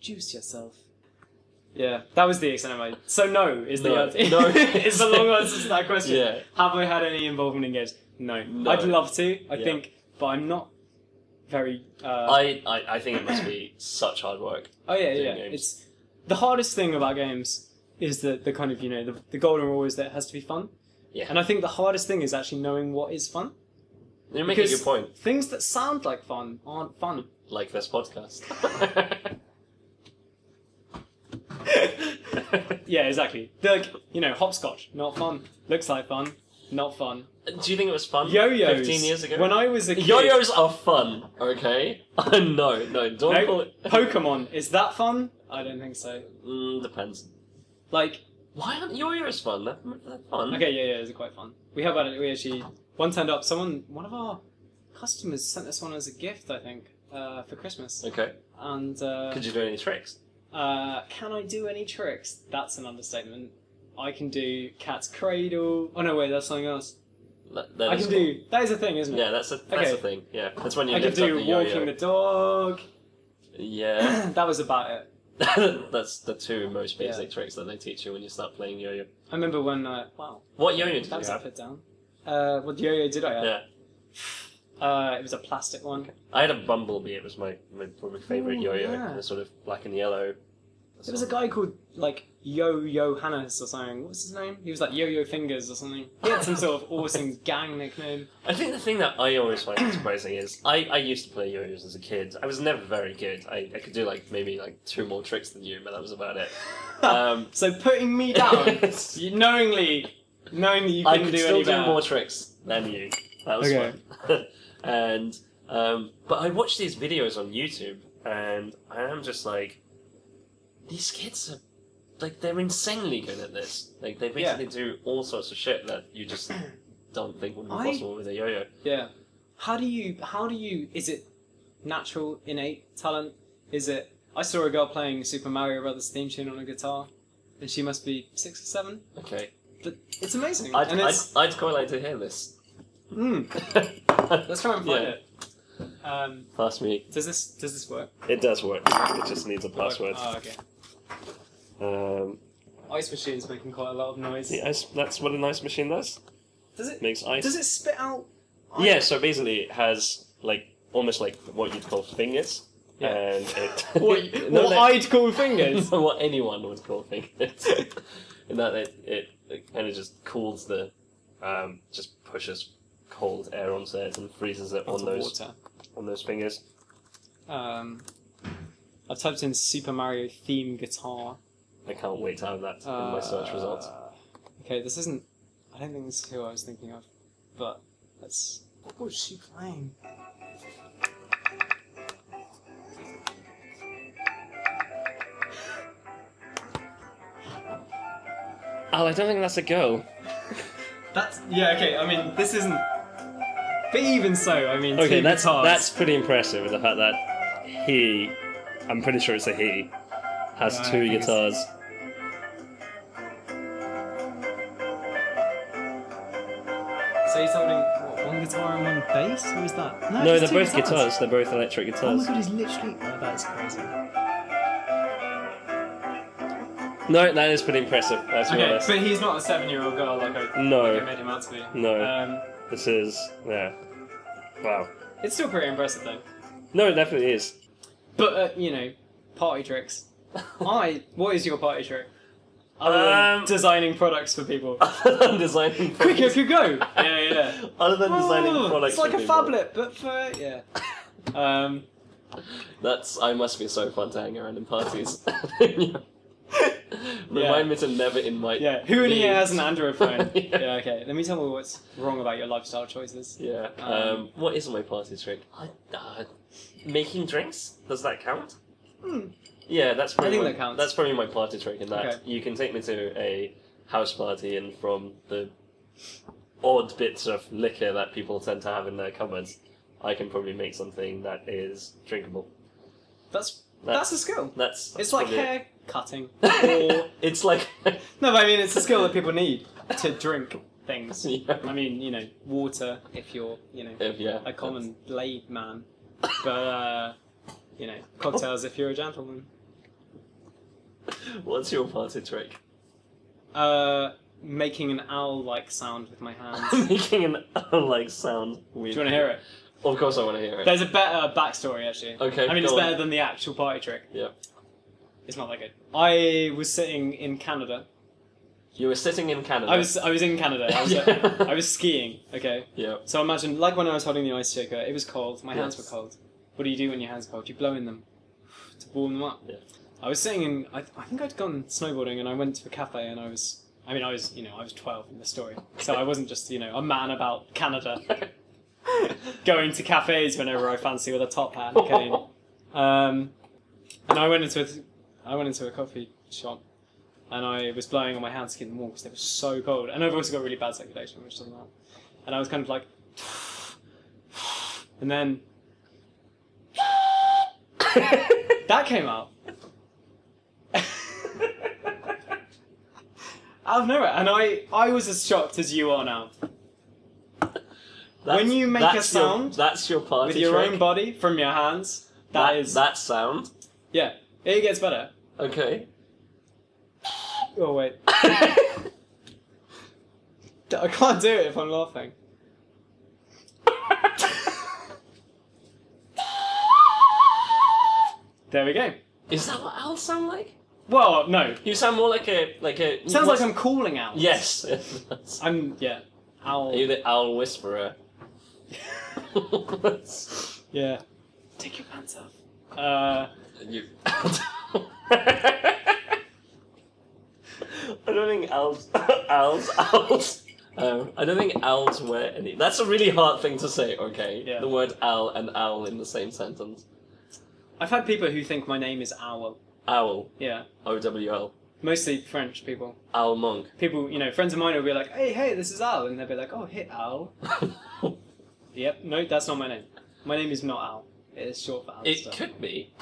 B: Juice yourself. Yeah, that was the extent of my. So no is the
C: No,
B: answer.
C: no.
B: is the long answer to that question.
C: Yeah.
B: Have I had any involvement in games? No.
C: No.
B: I'd love to. I
C: Yeah.
B: think, but I'm not very. Uh,
C: I, I, I think it must be such hard work.
B: Oh yeah,
C: doing
B: yeah.
C: games.
B: It's the hardest thing about games is the the kind of you know the, the golden rule is that it has to be fun.
C: Yeah.
B: And I think the hardest thing is actually knowing what is fun.
C: You're making
B: Because-
C: a good point,
B: Things that sound like fun aren't fun.
C: like this podcast.
B: yeah, exactly. They're Like you know, hopscotch, not fun. Looks like fun, not fun.
C: Do you think it was fun?
B: Yo-yos.
C: 15 Um, years ago?
B: When I was a kid,
C: Yo-yos are fun, okay? no, no, don't
B: No,
C: call it...
B: Pokemon is that fun? I don't think so.
C: Mm, depends.
B: Like
C: Why aren't yo-yos fun? They're, they're fun.
B: Okay, yeah, yeah, it was quite fun. We had one. We actually one turned up. Someone, one of our customers sent us one as a gift, I think, uh, for Christmas.
C: Okay.
B: And uh,
C: Could you do any tricks?
B: uh, can I do any tricks? That's an understatement. I can do cat's cradle. Oh no, wait, that's something else.
C: That, that
B: I
C: is
B: can
C: cool.
B: do. That is a thing, isn't it?
C: Yeah, that's a that's
B: Okay.
C: a thing. Yeah, that's when you
B: I can
C: lift
B: do
C: up the
B: walking
C: yo-yo.
B: the dog.
C: Yeah,
B: that was about it.
C: that's the two most
B: Yeah.
C: basic tricks that they teach you when you start playing yo-yo.
B: I remember when. Uh, wow,
C: What yo-yo did
B: that was
C: you
B: a
C: have?
B: put down. Uh, what yo-yo did I have?
C: Yeah,
B: Uh, it was a plastic one.
C: I had a bumblebee. It was my, my probably favorite
B: Ooh,
C: yo-yo.
B: yeah.
C: The sort of black and yellow.
B: There was a guy called like Yo Yo Hannes or something. What was his name? He was like Yo Yo Fingers or something. He had some sort of awesome gang nickname.
C: I think the thing that I always find surprising is I, I used to play yo-yos as a kid. I was never very good. I, I could do like maybe like two more tricks than you, but that was about it. Um,
B: so putting me down, you knowingly knowing that you
C: I
B: couldn't
C: could
B: do
C: still
B: any
C: do
B: better.
C: more tricks than you. That was
B: Okay.
C: fun. And um, but I watch these videos on YouTube, and I am just like, these kids are like they're insanely good at this. Like they
B: Yeah.
C: basically do all sorts of shit that you just don't think would be
B: I-
C: possible with a yo-yo.
B: Yeah. How do you? How do you? Is it natural, innate talent? Is it? I saw a girl playing Super Mario Brothers theme tune on a guitar, and she must be six or seven.
C: Okay,
B: But it's amazing,
C: I'd,
B: and
C: I'd,
B: it's.
C: I'd quite like to hear this.
B: Mm, let's try and find
C: Yeah.
B: it. Um,
C: Pass me.
B: does this does this work?
C: It does work. It just needs a password.
B: Oh, okay.
C: Um,
B: Ice machine's making quite a lot of noise.
C: the ice, that's what an ice machine does.
B: Does it?
C: Makes ice.
B: Does it spit out? ice?
C: Yeah, so basically it has like almost like what you'd call fingers.
B: Yeah.
C: And it
B: What,
C: No,
B: what
C: no.
B: I'd call fingers.
C: what anyone would call fingers. and that it, it, it kind of just cools the um, just pushes cold air onto it and freezes it
B: Lots
C: on
B: of
C: those
B: water.
C: on those fingers.
B: Um, I've typed in Super Mario theme guitar.
C: I can't wait to have that in my search results.
B: Uh, Okay, this isn't. I don't think this is who I was thinking of, but let's. What was she playing?
C: Oh, I don't think that's a girl.
B: That's yeah. Okay, I mean this isn't. But even so, I mean. two guitars.
C: pretty impressive. The fact that he, I'm pretty sure it's a he, has
B: Yeah, I two think it's- guitars. So you're holding what, one guitar and one bass, or is that? No, it's Ah, two
C: They're both electric
B: Oh my god, he's literally. Oh, that's crazy.
C: No, that is pretty impressive. Let's be
B: Okay,
C: honest.
B: but he's not a seven-year-old girl like I,
C: No.
B: like I made him out to be.
C: No.
B: Um,
C: This is yeah. Wow.
B: it's still pretty impressive though.
C: No, it definitely is.
B: But uh, you know, party tricks. I. What is your party trick? Other
C: Um,
B: than designing products for people.
C: Other than designing
B: Quick, you
C: products,
B: could go. Yeah, yeah. yeah.
C: other than designing
B: Oh,
C: products,
B: it's like
C: for
B: a
C: people,
B: phablet, but for yeah. Um,
C: That's I must be so fun to hang around in parties. Remind me to never invite.
B: yeah. Who in here has an Android phone?
C: Yeah.
B: yeah. Okay. Let me tell you what's wrong about your lifestyle choices.
C: Yeah. Um,
B: Um,
C: what is my party trick? I, uh, making drinks. Does that count?
B: Hmm.
C: Yeah, that's probably
B: think
C: my-
B: that counts.
C: That's probably my party trick. In that
B: Okay.
C: you can take me to a house party, and from the odd bits of liquor that people tend to have in their cupboards, I can probably make something that is drinkable.
B: That's
C: That's-
B: that's, a skill.
C: That's,
B: It's like
C: probably it.
B: hair cutting. Or
C: it's like
B: no, but I mean it's a skill that people need to drink things.
C: yeah,
B: I mean, you know, water if you're, you know,
C: if- yeah,
B: a common blade man. But uh, you know, cocktails if you're a gentleman.
C: What's your party trick?
B: Uh, making an owl-like sound with my
C: I'm
B: hands.
C: making an like sound.
B: Do you want to hear it?
C: Of course, I want to hear it.
B: There's a better backstory actually.
C: Okay,
B: I mean, it's
C: go on.
B: better than the actual party trick.
C: Yeah.
B: It's not that good. I was sitting in Canada.
C: You were sitting in Canada.
B: I was I was in Canada. I was,
C: Yeah.
B: I was skiing. Okay.
C: Yeah.
B: So imagine, like when I was holding the ice shaker, it was cold. My hands
C: Yes.
B: were cold. What do you do when your hands are cold? You blow in them to warm them up.
C: Yeah.
B: I was sitting in. I, I think I'd gone snowboarding, and I went to a cafe, and I was. I mean, I was. You know, I was twelve in the story, so I wasn't just you know a man about Canada going to cafes whenever I fancy with a top hat and a cane. Um, and I went into a, I went into a coffee shop, and I was blowing on my hands to keep them warm because they were so cold. And I've also got really bad circulation, which doesn't help. And I was kind of like, and then that came out out of nowhere, and I I was as shocked as you are now
C: That's-
B: When you make a
C: that's your-
B: sound
C: that's your party
B: with your
C: trick.
B: own body from your hands.
C: that
B: that is
C: that sound.
B: yeah. It gets better.
C: Okay.
B: Oh wait, D- I can't do it if I'm laughing. There we go.
C: is that what owls sound like?
B: Well, no.
C: You sound more like a like a.
B: Sounds
C: what's-
B: like I'm calling out.
C: Yes.
B: I'm yeah.
C: Are
B: Owl.
C: you the owl whisperer?
B: Yeah. Take your pants off. Uh,
C: you. I don't think owls. Owls. Owls.
D: Um, I don't think owls wear any. That's a really hard thing to say. Okay,
B: Yeah.
D: the word owl and owl in the same sentence.
B: I've had people who think my name is Owl.
D: Owl,
B: Yeah,
D: O W L,
B: mostly French people.
D: owl monk.
B: People, you know, friends of mine will be like, "Hey, hey, this is Owl," and they'll be like, "Oh, hey, Owl." Yep, no, that's not my name. My name is not Owl. It is short for Owl.
D: it
B: stuff.
D: could be.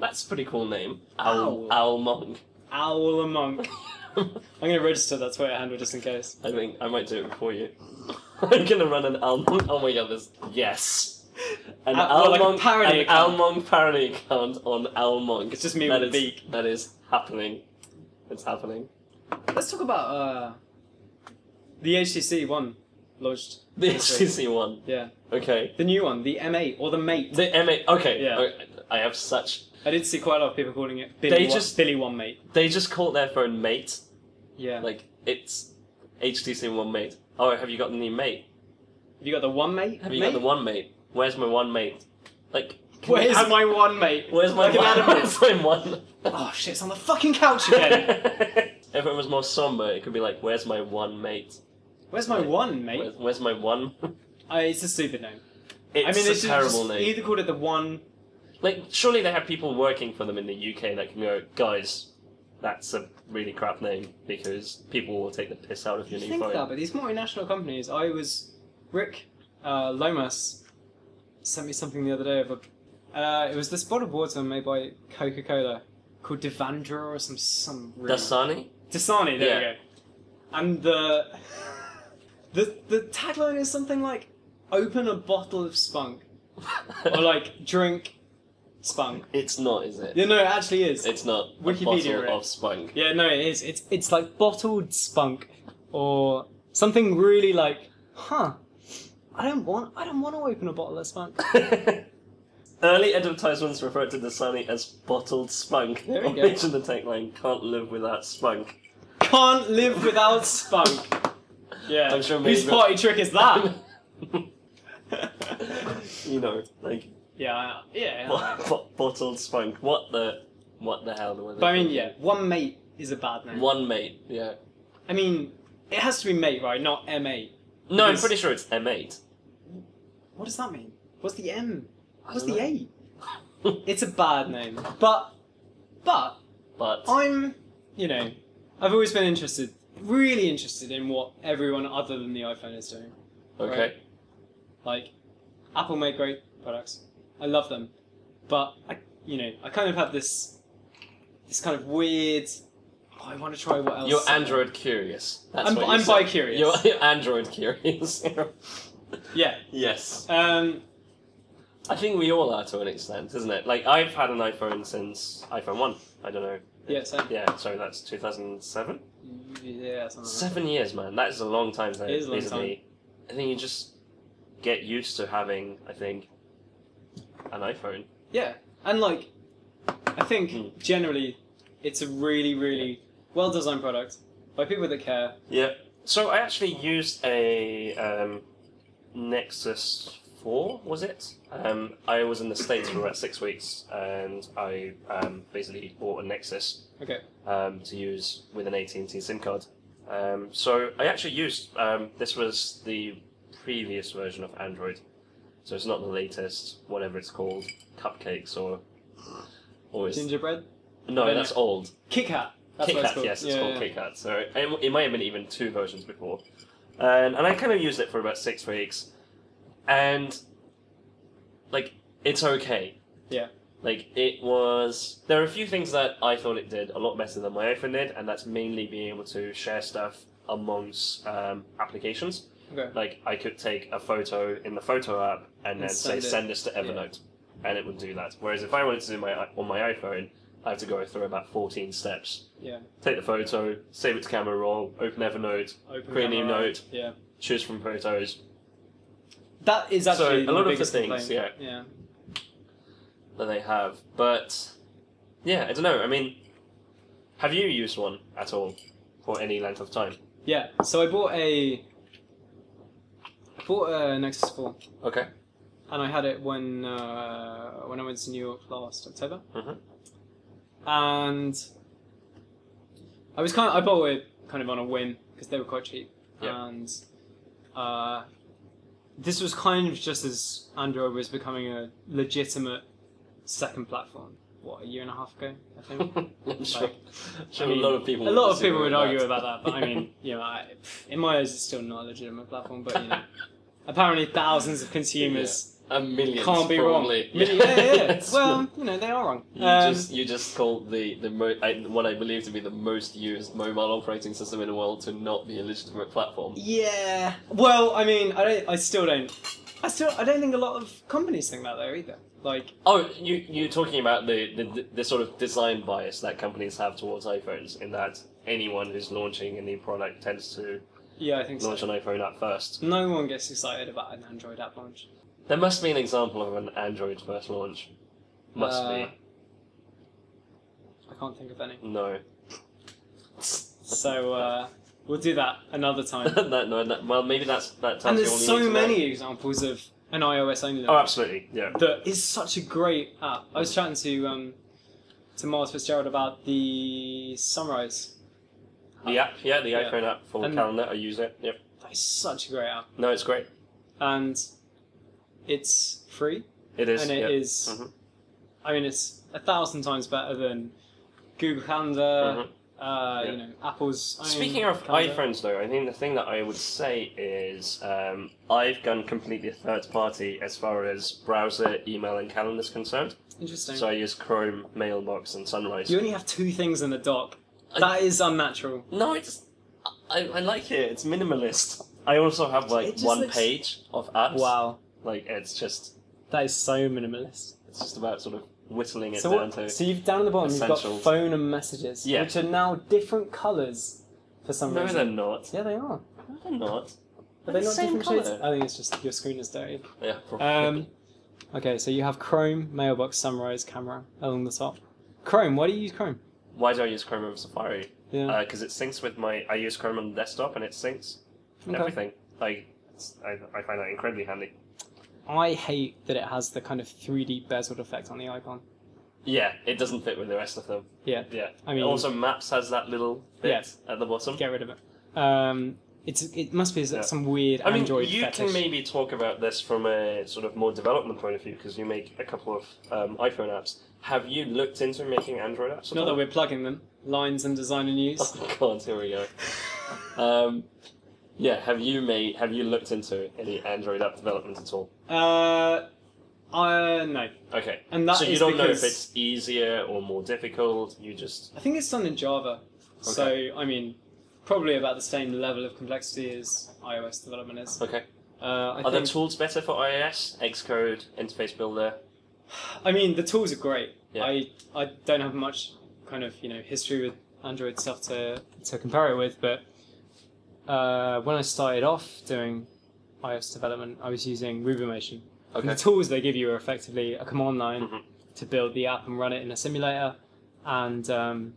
D: That's a pretty cool name. Owl,
B: Owl.
D: owl monk.
B: Owl a monk. I'm gonna register that Twitter handle just in case.
D: I think I might do it before you. I'm gonna run an owl monk. Oh my god, this yes. An
B: Uh,
D: owl
B: well, like a
D: monk
B: parody
D: an
B: account.
D: owl monk parody account on owl monk.
B: It's just me
D: That
B: with a
D: is-
B: beak.
D: That is happening. It's happening.
B: Let's talk about uh, the HTC One launched.
D: The
B: That's
D: HTC one.
B: Yeah,
D: Okay.
B: the new one, the M8 or the Mate.
D: The M8. Okay.
B: Yeah.
D: Okay, I have such.
B: I did see quite a lot of people calling it Billy,
D: They
B: one,
D: just-
B: Billy One Mate.
D: They just call their phone mate.
B: Yeah.
D: Like it's HTC one mate. Oh, have you got the new mate?
B: Have you got the One Mate?
D: Have you
B: mate?
D: got the one mate? Where's my one mate? Like. can we
B: Where's
D: have-
B: my One Mate?
D: Where's my
B: Like an
D: one?
B: animal.
D: Where's my one?
B: oh shit! It's on the fucking couch again.
D: if it was more somber, it could be like, "Where's my one mate?
B: Where's my One Mate?
D: Where's, where's my one?"
B: Uh, it's a stupid name.
D: It's
B: I mean,
D: a
B: it's
D: terrible
B: just e-
D: name.
B: Either called it the One.
D: Like, surely they have people working for them in the UK that can go, "Guys, that's a really crap name because people will take the piss out of
B: You
D: your
B: think
D: new phone."
B: that, but these multinational companies. I was Rick uh, Lomas sent me something the other day of a. Uh, it was this bottle of water made by Coca Cola called Devandra or some some. really-
D: Dasani.
B: Dasani, there
D: Yeah.
B: you go. And the the the tagline is something like "Open a bottle of spunk" or like "Drink spunk."
D: it's not, is it?
B: Yeah, no, it actually is.
D: It's not.
B: Wikipedia,
D: a bottle
B: right?
D: of spunk.
B: Yeah, no, it is. It's it's like bottled spunk or something really like, huh? I don't want I don't want to open a bottle of spunk.
D: Early advertisements referred to Dasani as bottled spunk.
B: There we
D: or
B: go.
D: mentioned the tagline, "Can't live without spunk."
B: Can't live without spunk. Yeah,
D: I'm sure many
B: whose
D: people-
B: party trick is that?
D: you know, like
B: yeah, I- yeah. I know.
D: Bo- bo- bottled spunk. What the? What the hell were they?
B: But I mean,
D: thinking?
B: yeah, one mate is a bad name.
D: One mate. Yeah.
B: I mean, it has to be mate, right? Not M eight.
D: No, I'm
B: Because-
D: pretty sure it's M8.
B: What does that mean? What's the M?
D: I
B: What's
D: don't
B: the
D: know.
B: A? It's a bad name, but but
D: But
B: I'm, you know, I've always been interested, really interested in what everyone other than the iPhone is doing.
D: okay.
B: right. Like, Apple made great products. I love them, but I, you know, I kind of have this, this kind of weird. Oh, I want to try what else.
D: You're Android curious. That's
B: I'm-
D: what
B: I'm
D: you said.
B: bi-curious.
D: You're, you're Android curious.
B: Yeah.
D: yes.
B: Um.
D: I think we all are to an extent, isn't it? Like I've had an iPhone since iPhone one. I don't know.
B: Yeah. So,
D: Yeah, so that's 2007.
B: yeah. Something like that.
D: Seven years, man. That is a long time. To
B: It is a long
D: basically- I think you just get used to having. I think an iPhone.
B: Yeah, and like, I think
C: Hmm.
D: Mm.
B: generally, it's a really, really well designed product by people that care.
D: Yeah.
C: So I actually used a um, Nexus 4, was it? Um, I was in the States for about six weeks and I um, basically bought a Nexus
B: Okay.
C: um, to use with an AT&T SIM card. Um, so I actually used, um, this was the previous version of Android. So it's not the latest, whatever it's called, cupcakes or... or is,
B: Gingerbread,
C: no, that's old.
B: Kit Kat. That's
C: Kit
B: what it's
C: Kat,
B: called.
C: yes, it's
B: yeah,
C: called
B: yeah.
C: Kit Kat. So it, it might have been even two versions before. And, and I kind of used it for about six weeks. And, like, it's okay.
B: Yeah.
C: Like, it was. There are a few things that I thought it did a lot better than my iPhone did, and that's mainly being able to share stuff amongst um, applications.
B: Okay.
C: Like, I could take a photo in the photo app and,
B: And
C: then say,
B: send it.
C: send this to Evernote. And it would do that. Whereas if I wanted to do my on my iPhone, I have to go through about 14 steps
B: Yeah.
C: take the photo, save it to camera roll, open Evernote,
B: Open
C: create a new
B: camera.
C: note,
B: Yeah.
C: choose from photos.
B: That is
C: So,
B: actually
C: a
B: the
C: lot of the
B: biggest
C: things,
B: complaint. Yeah.
C: that they have. But yeah, I don't know. I mean, have you used one at all for any length of time?
B: Yeah. So I bought a. I bought a Nexus Four,
C: Okay.
B: and I had it when uh, when I went to New York last October.
C: Mhm. Mm-hmm.
B: And I was kind of I bought it kind of on a whim because they were quite cheap.
C: Yeah.
B: and uh, this was kind of just as Android was becoming a legitimate second platform. What a year and a half ago, I think.
C: I'm sure,
B: Like,
C: sure
B: I mean,
C: a lot of people.
B: a
C: would
B: lot of
C: disagree
B: people would
C: with
B: argue
C: that.
B: about that, but I mean, you know, I, in my eyes, it's still not a legitimate platform. But you know, apparently, thousands of consumers
C: a million
B: can't be
C: probably.
B: wrong. Yeah, yeah, yeah.
C: It's
B: well, you know, they are wrong.
C: You
B: Um,
C: just you just called the the mo- I, what I believe to be the most used mobile operating system in the world to not be a legitimate platform.
B: Um, Yeah. Well, I mean, I don't. I still don't. I still. I don't think a lot of companies think that though either. Like,
C: Oh, you you're talking about the, the the sort of design bias that companies have towards iPhones, in that anyone who's launching a new product tends to
B: yeah, I think so.
C: launch an iPhone app first.
B: No one gets excited about an Android app launch.
C: There must be an example of an Android first launch. Must
B: Uh, I can't think of any.
C: be no.
B: So uh, we'll do that another time.
C: that, no, that, well, maybe that's that. tells
B: and
C: you
B: there's
C: all you
B: so
C: need to know.
B: many examples of an iOS only.
C: Oh,
B: launch
C: absolutely. Yeah.
B: That is such a great app. I was chatting to um, to Miles Fitzgerald about the Sunrise.
C: The app, yeah, the
B: Yeah.
C: iPhone app for
B: And-
C: calendar. I use it. Yep.
B: That is such a great app,
C: No, it's great.
B: and it's free.
C: It is.
B: and it
C: yeah.
B: is-
C: Mhm.
B: I mean, it's a thousand times better than Google Calendar.
C: Mhm.
B: Uh,
C: Yeah.
B: You know, Apple's. own
C: Speaking of
B: calendar.
C: iPhones, though, I think the thing that I would say is um, I've gone completely third party as far as browser, email, and calendar is concerned.
B: interesting.
C: So I use Chrome, Mailbox, and Sunrise.
B: you only have two things in the dock.
C: I-
B: That is unnatural.
C: No, it's I, I like it. It's minimalist. I also have
B: It
C: like
B: just
C: one
B: looks-
C: page of apps.
B: Wow,
C: Like it's just
B: that is so minimalist.
C: it's just about sort of whittling it
B: So,
C: down
B: what,
C: to.
B: so you've down at the bottom, you've got
C: essentials.
B: phone and messages,
C: Yeah.
B: which are now different colours for some
C: No,
B: reason.
C: they're not.
B: Yeah, they are.
C: No, they're not.
B: Are
C: They're
B: they
C: the
B: not
C: same
B: different shades?
C: colour.
B: I think it's just your screen is dirty.
C: Yeah, probably.
B: Um, okay, so you have Chrome, Mailbox, Sunrise, Camera along the top. Chrome, why do you use Chrome?
C: Why do I use Chrome over Safari?
B: Yeah.
C: Because Uh, it syncs with my. I use Chrome on the desktop and it syncs
B: Okay.
C: everything. Like, it's- I, I find that incredibly handy.
B: I hate that it has the kind of 3D bezeled effect on the icon.
C: Yeah, it doesn't fit with the rest of them.
B: Yeah.
C: Yeah.
B: I mean,
C: also, Maps has that little bit at the bottom.
B: get rid of it. Um, it's it must be s-
C: Yeah.
B: some weird
C: I mean,
B: Android
C: you
B: fetish.
C: can maybe talk about this from a sort of more development point of view because you make a couple of um, iPhone apps. Have you looked into making Android apps? at
B: Not that
C: all?
B: we're plugging them. Lines and design and use.
C: Oh God, here we go. Um, yeah, have you made? Have you looked into any Android app development at all?
B: uh, uh, no.
C: Okay,
B: And that
C: so you
B: is
C: don't know
B: because
C: if it's easier or more difficult. You just
B: I think it's done in Java. So I mean, probably about the same level of complexity as iOS development is.
C: okay. Oh,
B: Uh, I
C: Are the
B: think,
C: tools better for iOS? Xcode, Interface Builder.
B: I mean, the tools are great.
C: Yeah.
B: I I don't have much kind of you know history with Android stuff to to compare it with, but uh, when I started off doing iOS development, I was using Rubimation. And
C: Okay.
B: The tools they give you are effectively a command line
C: Mhm.
B: to build the app and run it in a simulator, and um,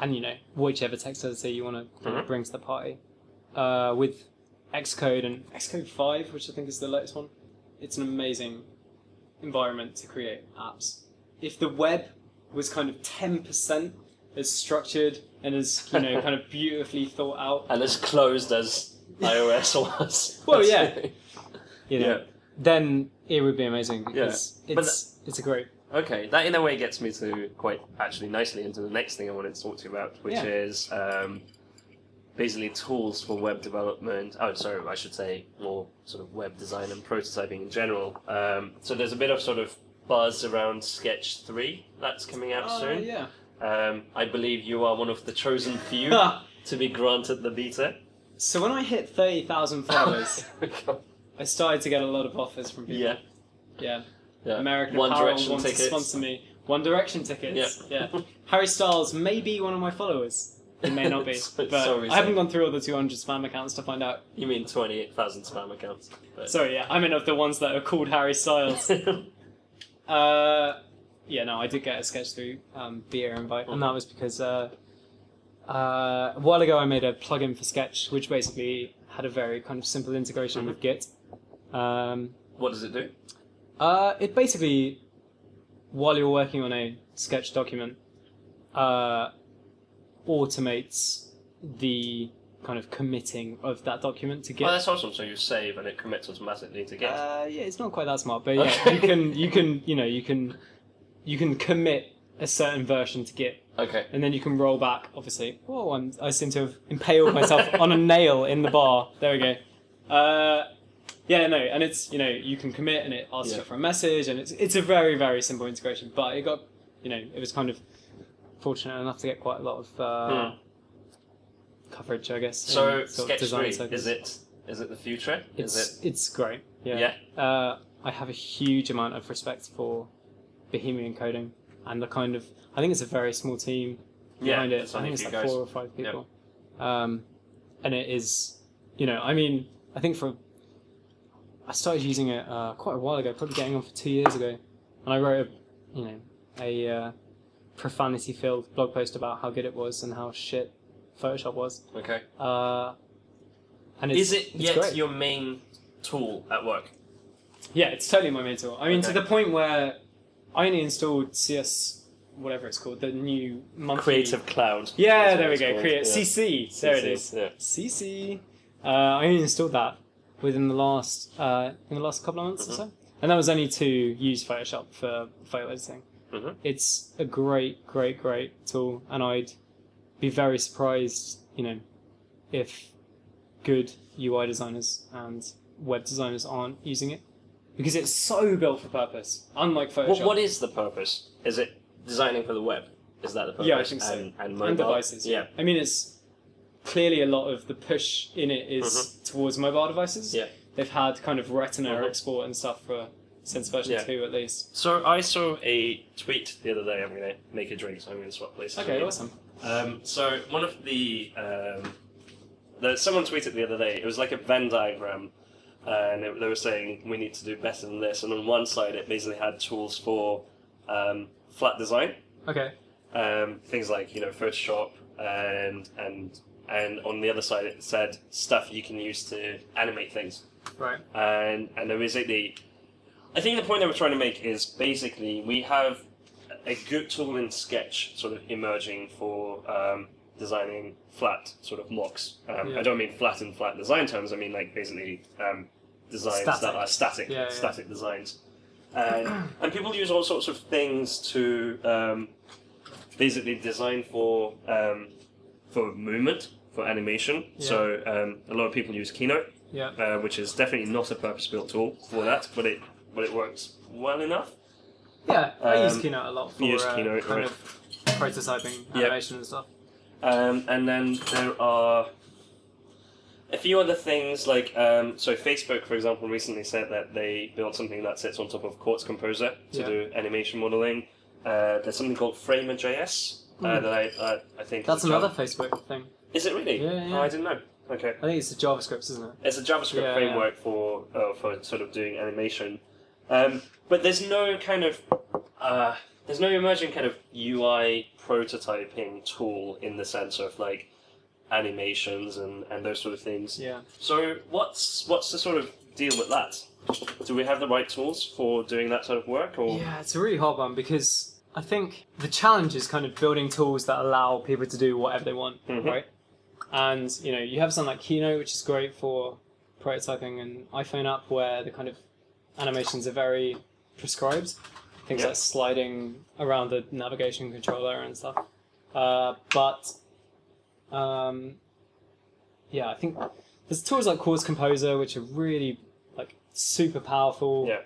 B: and you know whichever text editor you want to
C: Mhm.
B: bring to the party. Uh, with Xcode and Xcode Five, which I think is the latest one, it's an amazing environment to create apps. If the web was kind of ten percent as structured and as you know kind of beautifully thought out,
C: And as closed as iOS was.
B: Well, yeah. you know,
C: Yeah.
B: then it would be amazing because
C: But
B: it's it's a great
C: Okay, that in a way gets me to quite actually nicely into the next thing I wanted to talk to you about, which
B: Yeah.
C: is um, basically tools for web development. Oh, sorry, I should say more sort of web design and prototyping in general. Um, so there's a bit of sort of buzz around Sketch 3 that's coming out
B: Oh,
C: soon.
B: yeah.
C: Um, I believe you are one of the chosen few
B: Ah,
C: to be granted the beta.
B: so when I hit thirty thousand followers, I started to get a lot of offers from people.
C: yeah.
B: Yeah.
C: yeah.
B: American
C: One
B: Apparel
C: Direction
B: wants to
C: tickets.
B: sponsor me. One Direction tickets. yeah. Harry Styles may be one of my followers. He may not be,
C: So-
B: but
C: sorry,
B: I haven't
C: sorry.
B: gone through all the 200 spam accounts to find out.
C: You mean 28,000 spam accounts. But...
B: Sorry, yeah, I mean of the ones that are called Harry Styles. Uh, yeah, no, I did get a sketch through um, beer invite, and that was because uh, uh, a while ago I made a plugin for Sketch, which basically had a very kind of simple integration with Git. Um,
C: what does it do?
B: uh, it basically, while you're working on a Sketch document, uh, automates the kind of committing of that document to Git.
D: Well, that's awesome. So you save and it commits automatically to Git.
B: Uh, yeah, it's not quite that smart, but yeah, you can you can you know you can you can commit a certain version to Git,
D: okay.
B: and then you can roll back. Obviously, whoa! I'm, I seem to have impaled myself on a nail in the bar. There we go. Uh, yeah, no, and it's you know you can commit and it asks
D: Yeah.
B: you for a message, and it's it's a very very simple integration, but it got you know it was kind of fortunate enough to get quite a lot of uh, coverage, I guess.
D: Hmm. So
B: in sort of
D: sketch
B: design
D: three
B: circles.
D: is it? Is it the future?
B: It's
D: is
B: it's great.
D: it?
B: Yeah. Uh, I have a huge amount of respect for Bohemian coding and the kind of. I think it's a very small team
D: Yeah.
B: behind
D: yeah
B: it.
D: it's
B: I
D: only
B: think it's
D: a few
B: like
D: guys.
B: four or five people. Um, and it is, you know, I mean, I think for. I started using it uh, quite a while ago, probably getting on for two years ago, and I wrote, a, you know, a uh, profanity-filled blog post about how good it was and how shit Photoshop was.
D: Okay.
B: Uh, and it's,
D: Is it
B: it's
D: yet
B: great.
D: your main tool at work?
B: Yeah, it's totally my main tool. I mean, to
D: Okay.
B: the point where I only installed CS, whatever it's called, the new monthly
C: Creative Cloud.
B: Yeah,
C: That's
B: there
C: what
B: we
C: it's
B: go.
C: called,
B: Create
C: yeah.
B: CC. There it is.
C: Yeah.
B: CC. Uh, I only installed that within the last uh, in the last couple of months
D: Mm-hmm.
B: or so, and that was only to use Photoshop for photo editing.
D: Mhm.
B: It's a great, great, great tool, and I'd be very surprised, you know, if good UI designers and web designers aren't using it because it's so built for purpose. Unlike Photoshop
D: What, what is the purpose? Is it designing for the web? Is that the purpose?
B: Yeah, I think so.
D: And, and mobile
B: and devices.
D: Yeah.
B: I mean, it's clearly a lot of the push in it is
C: Mm-hmm.
B: towards mobile devices.
D: Yeah.
B: They've had kind of Retina
D: Mhm.
B: export and stuff for since version
C: Uh-huh. Yeah.
B: two at least.
C: So I saw a tweet the other day. I'm gonna make a drink, so I'm gonna swap places. with
B: Okay,
C: you.
B: awesome.
C: Um, so one of the, um, the someone tweeted the other day. It was like a Venn diagram, and it, they were saying we need to do better than this. And on one side, it basically had tools for um, flat design,
B: Okay.
C: um, things like you know Photoshop, and and and on the other side, it said stuff you can use to animate things
B: Right.
C: and and they're basically I think the point they were trying to make is basically we have a good tool in Sketch sort of emerging for um, designing flat sort of mocks. Um,
B: Yeah.
C: I don't mean flat in flat design terms. I mean like basically um, designs
B: Static.
C: that are static,
B: Yeah, yeah.
C: static designs. And, and people use all sorts of things to um, basically design for um, for movement, for animation.
B: Yeah.
C: So um, a lot of people use Keynote
B: Yeah.
C: uh, which is definitely not a purpose-built tool for that, but it but it works well enough.
B: Yeah. I use
C: Um,
B: Keynote a lot for
C: you use
B: uh,
C: Keynote,
B: kind
C: right.
B: of prototyping
C: Yeah.
B: animation and stuff.
C: Um, and then there are a few other things like um, so Facebook, for example, recently said that they built something that sits on top of Quartz Composer to
B: Yeah.
C: do animation modeling. Uh, there's something called Framer.js uh,
B: Mm.
C: that I, uh, I think is
B: That's
C: a
B: another
C: Java-
B: Facebook thing.
C: Is it really?
B: Yeah, yeah.
C: Oh, I didn't know. Okay.
B: I think it's the JavaScript, isn't it?
C: It's a JavaScript
B: Yeah,
C: framework for uh, for sort of doing animation, um, but there's no kind of uh, there's no emerging kind of UI prototyping tool in the sense of like animations and, and those sort of things.
B: Yeah.
C: So what's what's the sort of deal with that? Do we have the right tools for doing that sort of work? Or
B: Yeah, it's a really hard one because I think the challenge is kind of building tools that allow people to do whatever they want,
C: Mhm.
B: right? And you know, you have something like Keynote, which is great for prototyping an iPhone app where the kind of animations are very prescribed, things
C: Yeah.
B: like sliding around the navigation controller and stuff. Uh, but um, yeah, I think there's tools like Chords Composer, which are really like super powerful.
C: Yeah.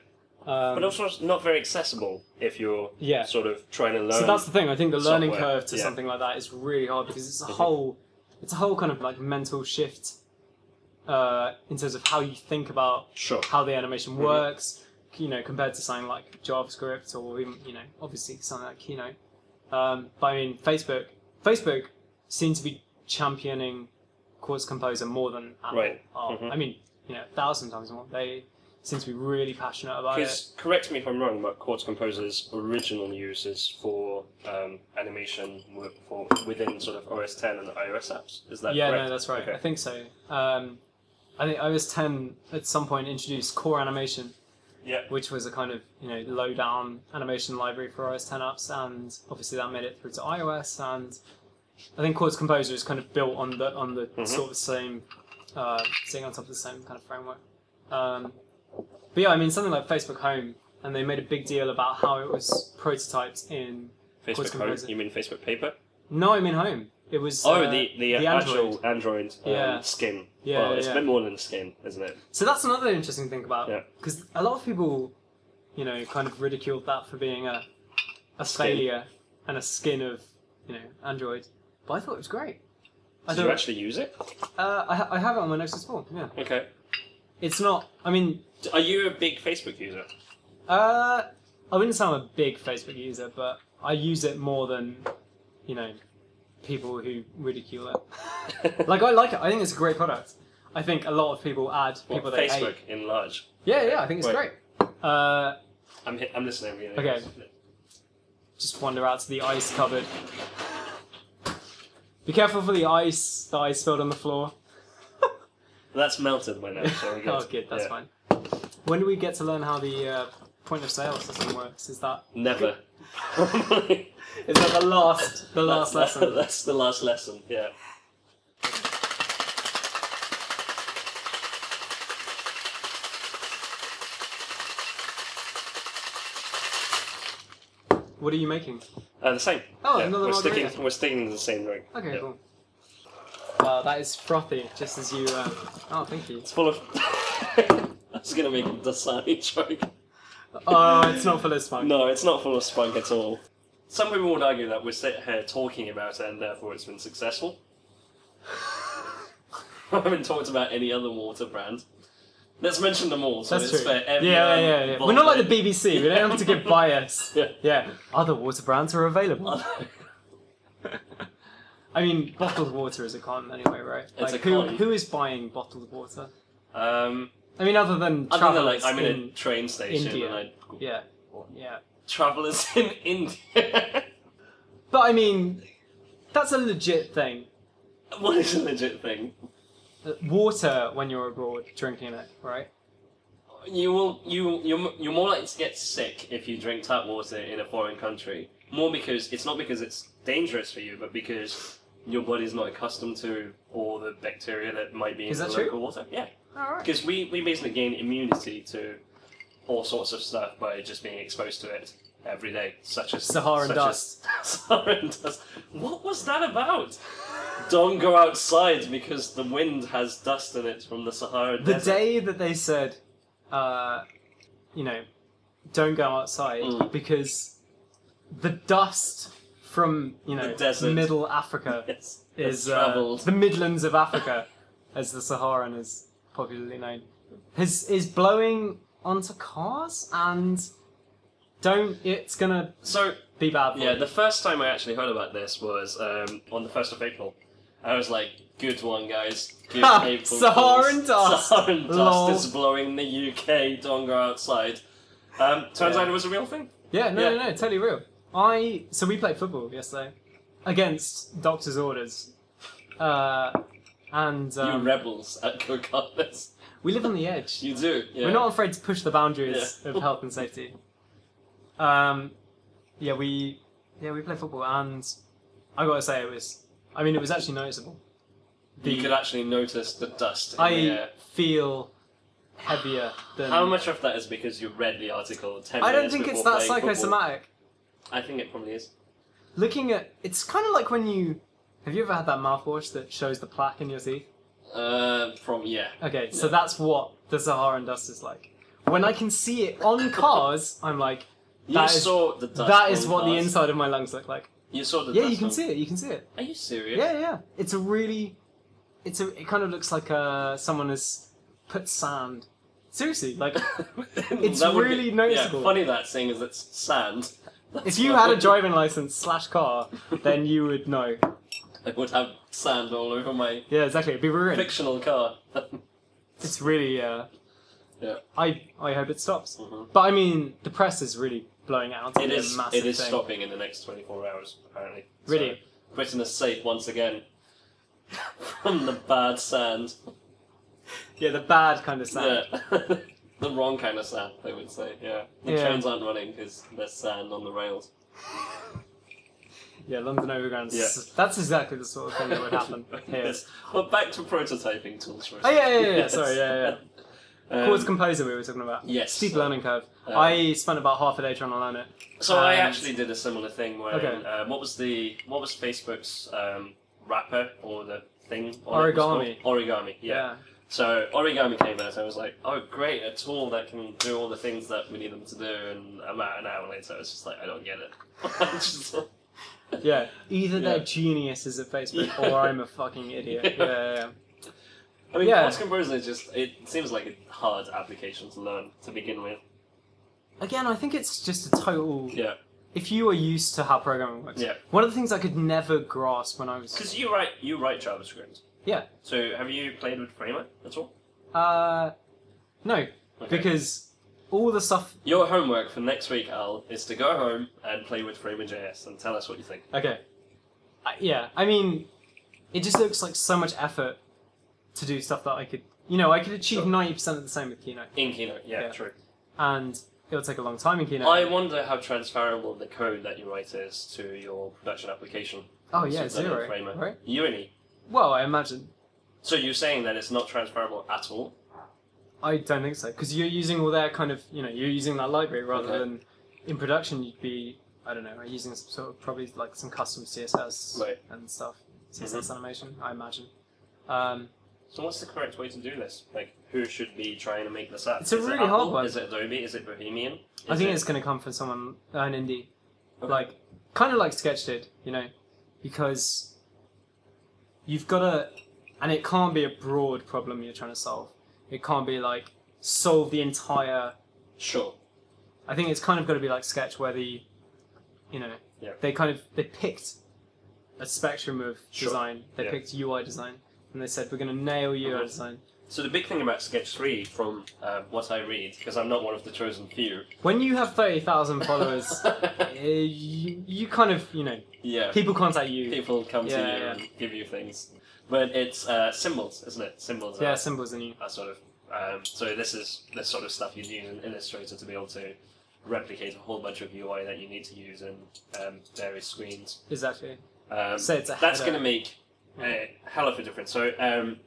B: Um,
C: but also it's not very accessible if you're
B: yeah.
C: sort of trying to learn.
B: So that's the thing. I think the learning
C: software,
B: curve to
C: yeah.
B: something like that is really hard because it's a
C: Mhm.
B: whole, it's a whole kind of like mental shift, uh, in terms of how you think about
C: sure.
B: how the animation
C: Mhm.
B: works. You know, compared to something like JavaScript or even you know, obviously something like Keynote. Um, but I mean, Facebook, Facebook seems to be championing Quartz Composer more than Apple.
C: Right.
B: are.
C: Mhm.
B: I mean, you know, a thousand times more. They seem to be really passionate about it.
C: Because uh, correct me if I'm wrong, but Quartz Composer's original use is for um, animation wi- for within sort of OS 10 and iOS apps. Is that
B: yeah,
C: correct?
B: no, that's right.
C: Okay.
B: I think so. Um, I think iOS 10 at some point introduced Core Animation,
C: Yeah.
B: which was a kind of you know low down animation library for iOS 10 apps, and obviously that made it through to iOS, and I think Chords Composer is kind of built on the on the
C: Mm-hmm.
B: sort of same, uh, sitting on top of the same kind of framework. Um, but yeah, I mean something like Facebook Home, and they made a big deal about how it was prototyped in Chords
C: Facebook Home.
B: Composer.
C: You mean Facebook Paper?
B: No, I mean Home. It was
C: Oh,
B: uh,
C: the the,
B: the Android.
C: actual Android um,
B: Yeah.
C: skin.
B: Yeah,
C: well,
B: yeah,
C: it's
B: yeah.
C: a bit more than skin, isn't it?
B: So that's another interesting thing about
C: Yeah.
B: because a lot of people, you know, kind of ridiculed that for being a a failure and a skin of you know Android, but I thought it was great. I
C: Did you
B: thought
C: actually use it?
B: uh, I, ha- I have it on my Nexus Four. Yeah,
C: Okay.
B: it's not. I mean,
C: D- Are you a big Facebook user?
B: uh, I wouldn't say I'm a big Facebook user, but I use it more than you know people who ridicule it. like I like it. I think it's a great product. I think a lot of people add
C: What,
B: people they
C: Facebook
B: hate.
C: in large.
B: Yeah, yeah, I think it's
C: Wait.
B: great. Uh,
C: I'm hi- I'm listening. Really.
B: Okay. just wander out to the ice cupboard. Be careful for the ice that I spilled on the floor.
C: That's melted by now. So we're good.
B: oh, good, that's
C: Yeah.
B: fine. When do we get to learn how the uh, point of sale system works? Is that
C: Never.
B: is that the last the
C: That's-
B: last lesson?
C: That's the last lesson. Yeah.
B: What are you making?
C: Uh, the same.
B: Oh,
C: yeah.
B: another
C: We're sticking.
B: margarita.
C: We're sticking to the same drink.
B: Okay,
C: Yeah.
B: cool. Wow, Uh, that is frothy, just as you. Um... Oh, thank you.
C: It's full of. I was gonna make a Dasani joke.
B: Oh, it's not full of smoke.
C: No, it's not full of spunk at all. Some people would argue that we're sitting here talking about it and therefore it's been successful. I haven't talked about any other water brand. Let's mention them all so
B: That's
C: it's
B: true.
C: fair.
B: Yeah, yeah, yeah, yeah. We're not like the BBC. We don't have to give bias.
C: Yeah.
B: Yeah. Other water brands are available. I mean, bottled water is a con anyway, right?
C: It's
B: like,
C: a
B: who,
C: con.
B: who is buying bottled water?
C: um,
B: I mean, other than
C: I don't know, like
B: travelers
C: I'm in, a
B: in,
C: train station
B: India.
C: and I
B: yeah, yeah.
C: travelers in India.
B: But I mean, that's a legit thing.
C: what is a legit thing?
B: Uh, Water when you're abroad, drinking it, right?
C: You will you you're, you're more likely to get sick if you drink tap water in a foreign country. More because it's not because it's dangerous for you, but because your body's not accustomed to all the bacteria that might be in
B: Is
C: the
B: that true?
C: local water. Yeah,
B: All right.
C: because we we basically gain immunity to all sorts of stuff by just being exposed to it every day, such as
B: Saharan
C: such
B: dust.
C: As, Saharan dust. What was that about? Don't go outside because the wind has dust in it from the Sahara
B: The
C: Desert.
B: day that they said, uh, you know, don't go outside
C: Mm.
B: because the dust from you know
C: desert.
B: middle Africa
C: Yes.
B: is uh,
C: traveled.
B: the Midlands of Africa, as the Saharan is popularly known, is is blowing onto cars and don't it's gonna
C: So
B: be bad. For
C: Yeah,
B: you.
C: the first time I actually heard about this was um, on the 1st of April. I was like, good one, guys. Good
B: Ha!
C: April Fools.
B: Saharan dust.
C: Saharan dust
B: Lol.
C: is blowing the UK donga outside. Um, turns
B: Yeah.
C: out it was a real thing.
B: yeah, no,
C: yeah.
B: no, no, totally real. I so we played football yesterday against doctor's orders, uh, and
C: you
B: um,
C: rebels at Kokalas.
B: we live on the edge.
C: You do. Yeah.
B: We're not afraid to push the boundaries of health and safety. Um, yeah, we yeah we play football, and I gotta say it was. I mean, it was actually noticeable.
C: you could actually notice the dust in
B: I
C: the air.
B: feel heavier than.
C: How much of that is because you read the article 10
B: I don't
C: minutes
B: think it's
C: before
B: that
C: playing football?
B: psychosomatic.
C: I think it probably is.
B: Looking at it's kind of like when you have you ever had that mouthwash that shows the plaque in your teeth?
C: Uh, from, yeah.
B: Okay, so that's what the Saharan dust is like. When I can see it on cars, I'm like,
C: You
B: That is-
C: saw the dust.
B: that is
C: on
B: what the
C: cars.
B: inside of my lungs look like.
C: You saw the
B: Yeah,
C: dust.
B: you can
C: on-
B: see it. You can see it.
C: Are you serious?
B: Yeah, yeah. It's a really, it's a. It kind of looks like uh someone has put sand. Seriously, like It's
C: That would
B: really
C: yeah,
B: noticeable.
C: funny that thing is it's sand.
B: if you had a driving license slash car, then you would know.
C: I would have sand all over my
B: Yeah, exactly. It'd be ruined.
C: fictional car.
B: It's really. Uh,
C: Yeah.
B: I I hope it stops.
C: Mhm.
B: But I mean, the press is really blowing it out. to
C: it
B: be a
C: is.
B: massive
C: It is
B: thing.
C: stopping in the next 24 hours, apparently. So,
B: Really?
C: Britain is safe once again from the bad sand.
B: Yeah, the bad kind of sand.
C: Yeah. the wrong kind of sand, they would say. Yeah. The
B: Yeah.
C: trains aren't running because there's sand on the rails.
B: Yeah, London Overground. That's exactly the sort of thing that would happen here.
C: yes. But back to prototyping tools for a
B: Oh yeah, yeah,
C: second.
B: yeah. yeah,
C: Yes.
B: Sorry, yeah, yeah.
C: Um,
B: Chords composer we were talking about.
C: yes.
B: Steep
C: so-
B: learning curve.
C: um,
B: I spent about half a day trying to learn it.
C: So I
B: And-
C: actually did a similar thing where
B: Okay.
C: uh, what was the what was Facebook's um, wrapper or the thing on it was
B: Origami.
C: called? Origami, yeah. So origami came out. I was like, oh great, a tool that can do all the things that we need them to do. And about an hour later, I was just like, I don't get it. Just like-
B: Yeah. Yeah. Either
C: Yeah.
B: they're geniuses at Facebook
C: Yeah.
B: or I'm a fucking idiot. Yeah,
C: Yeah.
B: yeah, yeah.
C: I mean,
B: Yeah.
C: yeah. composer is just it seems like a hard application to learn to begin with.
B: Again, I think it's just a total.
C: Yeah,
B: If you are used to how programming works,
C: Yeah.
B: one of the things I could never grasp when I was.
C: because you write you write JavaScript.
B: Yeah.
C: So have you played with Framer at all?
B: Uh, no,
C: Okay.
B: because all the stuff.
C: Your homework for next week, Al, is to go home and play with Framer.js and tell us what you think.
B: Okay. I, yeah, I mean, it just looks like so much effort to do stuff that I could. You know, I could achieve
C: Sure.
B: ninety percent of the same with Keynote,
C: In Keynote, yeah,
B: Yeah.
C: true.
B: and it'll take a long time in Keynote.
C: I wonder how transferable the code that you write is to your production application.
B: oh yeah,
C: So that in
B: zero.
C: Framer.
B: Right?
C: Unity.
B: Well, I imagine.
C: So you're saying that it's not transferable at all?
B: I don't think so because you're using all their kind of you know you're using that library rather
C: Okay.
B: than in production you'd be I don't know using some sort of probably like some custom CSS
C: Right. Mm-hmm.
B: and stuff CSS animation I imagine. Um,
C: So what's the correct way to do this? Like, who should be trying to make this up?
B: It's a
C: Is it
B: really hard
C: Apple?
B: one.
C: Is it Adobe? Is it Bohemian?
B: I
C: Is
B: think
C: it-
B: it's going to come from someone uh, an indie,
C: Okay.
B: like kind of like Sketch did, you know, because you've got to, and it can't be a broad problem you're trying to solve. It can't be like solve the entire
C: sure.
B: I think it's kind of got to be like Sketch, where the, you know,
C: Yeah.
B: they kind of they picked a spectrum of
C: Sure.
B: design. They
C: Yeah.
B: picked UI design, and they said we're going to nail UI
C: Mhm.
B: design.
C: So the big thing about Sketch Three, from uh, what I read, because I'm not one of the chosen few.
B: When you have thirty thousand followers, uh, you, you kind of you know
C: yeah.
B: people contact you.
C: people come to
B: Yeah,
C: you
B: yeah.
C: and give you things. But it's uh, symbols, isn't it? Symbols
B: Yeah,
C: are,
B: symbols and you.
C: are sort of. Um, so this is this sort of stuff you'd use in Illustrator to be able to replicate a whole bunch of UI that you need to use in um, various screens.
B: Exactly.
C: Um,
B: So it's a
C: that's
B: header.
C: going to
B: Hmm.
C: make a hell of a difference. So um,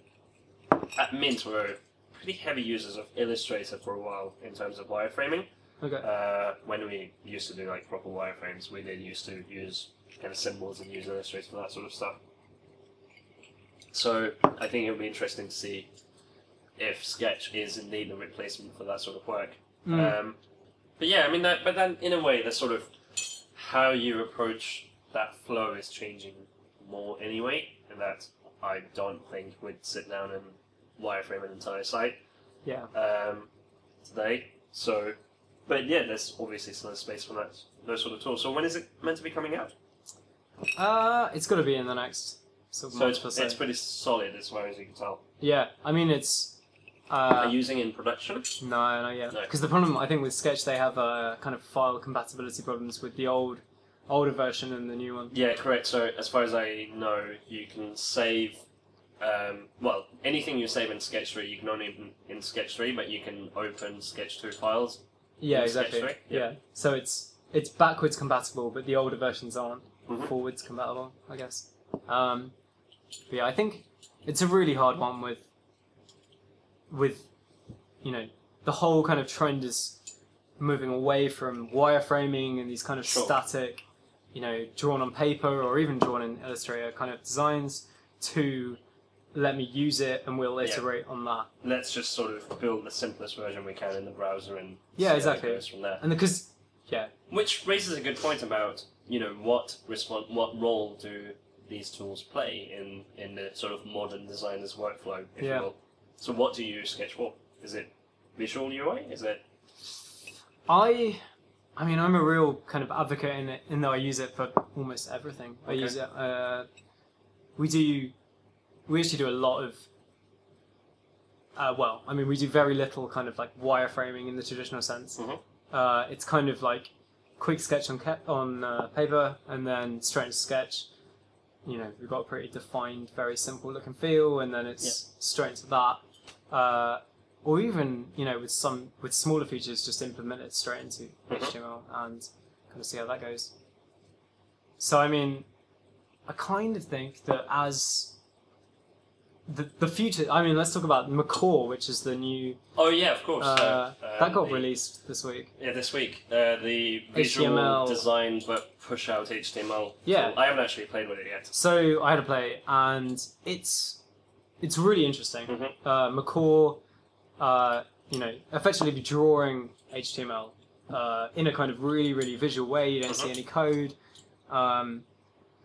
C: at Mint, we're pretty heavy users of Illustrator for a while in terms of wireframing.
B: Okay.
C: Uh, when we used to do like proper wireframes, we then used to use kind of symbols and use Illustrator for that sort of stuff. So I think it would be interesting to see if Sketch is indeed a replacement for that sort of work.
B: Mm.
C: Um, but yeah, I mean, that, but then in a way, the sort of how you approach that flow is changing more anyway, and that I don't think would sit down and wireframe an entire site
B: yeah.
C: um, today. So, but yeah, there's obviously still space for that those sort of tools. So when is it meant to be coming out?
B: Uh, it's got to be in the next sort of
C: So
B: month
C: it's,
B: or so.
C: it's pretty solid as far as you can tell.
B: Yeah. I mean, it's.
C: Are
B: Uh,
C: you using in production?
B: No, not yet.
C: No.
B: Because oh, the problem I think with Sketch, they have uh, kind of file compatibility problems with the old, older version and the new one.
C: Yeah, correct. So as far as I know, you can save. Um, well, anything you save in Sketch 3, you can only open in Sketch 3, but you can open Sketch 2 files.
B: Yeah,
C: In Sketch,
B: exactly.
C: right?
B: Yeah.
C: Yeah.
B: So it's it's backwards compatible, but the older versions aren't
C: Mhm.
B: forwards compatible, I guess. Um, but yeah, I think it's a really hard one with with you know the whole kind of trend is moving away from wireframing and these kind of
C: Sure.
B: static, you know, drawn on paper or even drawn in Illustrator kind of designs to let me use it and we'll
C: Yeah.
B: iterate on that.
C: Let's just sort of build the simplest version we can in the browser and
B: Yeah,
C: see how it
B: exactly.
C: goes from there.
B: And because yeah,
C: Which raises a good point about you know what respon what role do these tools play in in the sort of modern designer's workflow, if
B: Yeah.
C: you will. So what do you sketch for? Is it visual UI? Is it
B: I, I mean, I'm a real kind of advocate in it, in that I use it for almost everything. I
C: Okay.
B: use it. Uh, we do, we actually do a lot of. Uh, well, I mean, we do very little kind of like wireframing in the traditional sense.
C: Mhm.
B: Uh, it's kind of like quick sketch on ca- on uh, paper and then straight into sketch. You know, we've got a pretty defined, very simple look and feel, and then it's straight into that. Uh, or even you know with some with smaller features just implement it straight into
C: Mhm.
B: html and kind of see how that goes So I mean, I kind of think that as the, the future, I mean, let's talk about McCaw, which is the new
C: Oh yeah, of course.
B: uh,
C: um,
B: that got
C: the-
B: released this week.
C: Yeah, this week uh, the visual
B: HTML.
C: design web push out HTML.
B: Yeah.
C: tool. I haven't actually played with it yet.
B: So I had a play, and it's it's really interesting.
C: Mhm.
B: Uh, McCaw, uh, you know, effectively be drawing HTML uh, in a kind of really, really visual way. You don't see any code. Um,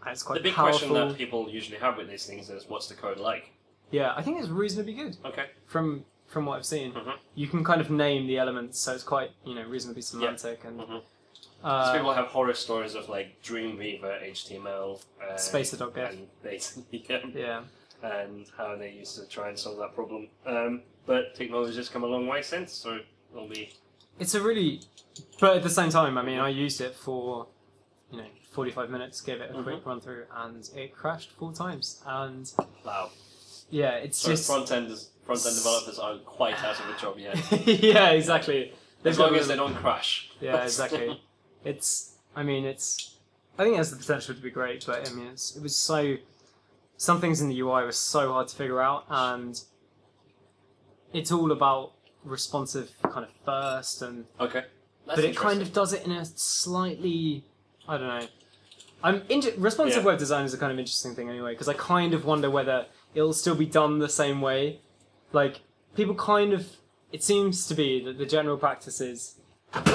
B: and it's quite
C: Mm-hmm. the big
B: powerful.
C: question that people usually have with these things is, what's the code like?
B: Yeah, I think it's reasonably good
C: Okay.
B: from from what I've seen.
C: Mhm.
B: You can kind of name the elements, so it's quite you know reasonably semantic and.
C: Mhm. Because
B: Uh,
C: people have horror stories of like Dreamweaver HTML. Uh,
B: Spacer.gif.
C: And basically, yeah,
B: Yeah,
C: and how they used to try and solve that problem. Um, but technology has come a long way since, so it'll be.
B: it's a really, but at the same time, I mean, I used it for, you know, forty-five minutes, gave it a quick run through, and it crashed four times. And
C: Wow.
B: yeah, it's
C: So
B: just
C: front end front end developers aren't quite out of a job yet.
B: yeah, exactly. They've
C: As
B: got
C: long as
B: really-
C: they don't crash.
B: yeah, exactly. It's, I mean, it's, I think it has the potential to be great, but I mean, it's, it was so, some things in the UI were so hard to figure out, and it's all about responsive kind of first and
C: okay. That's
B: but it kind
C: interesting.
B: of does it in a slightly I don't know. I'm inter- responsive
C: Yeah.
B: web design is a kind of interesting thing anyway because I kind of wonder whether it'll still be done the same way. Like people kind of it seems to be that the general practice is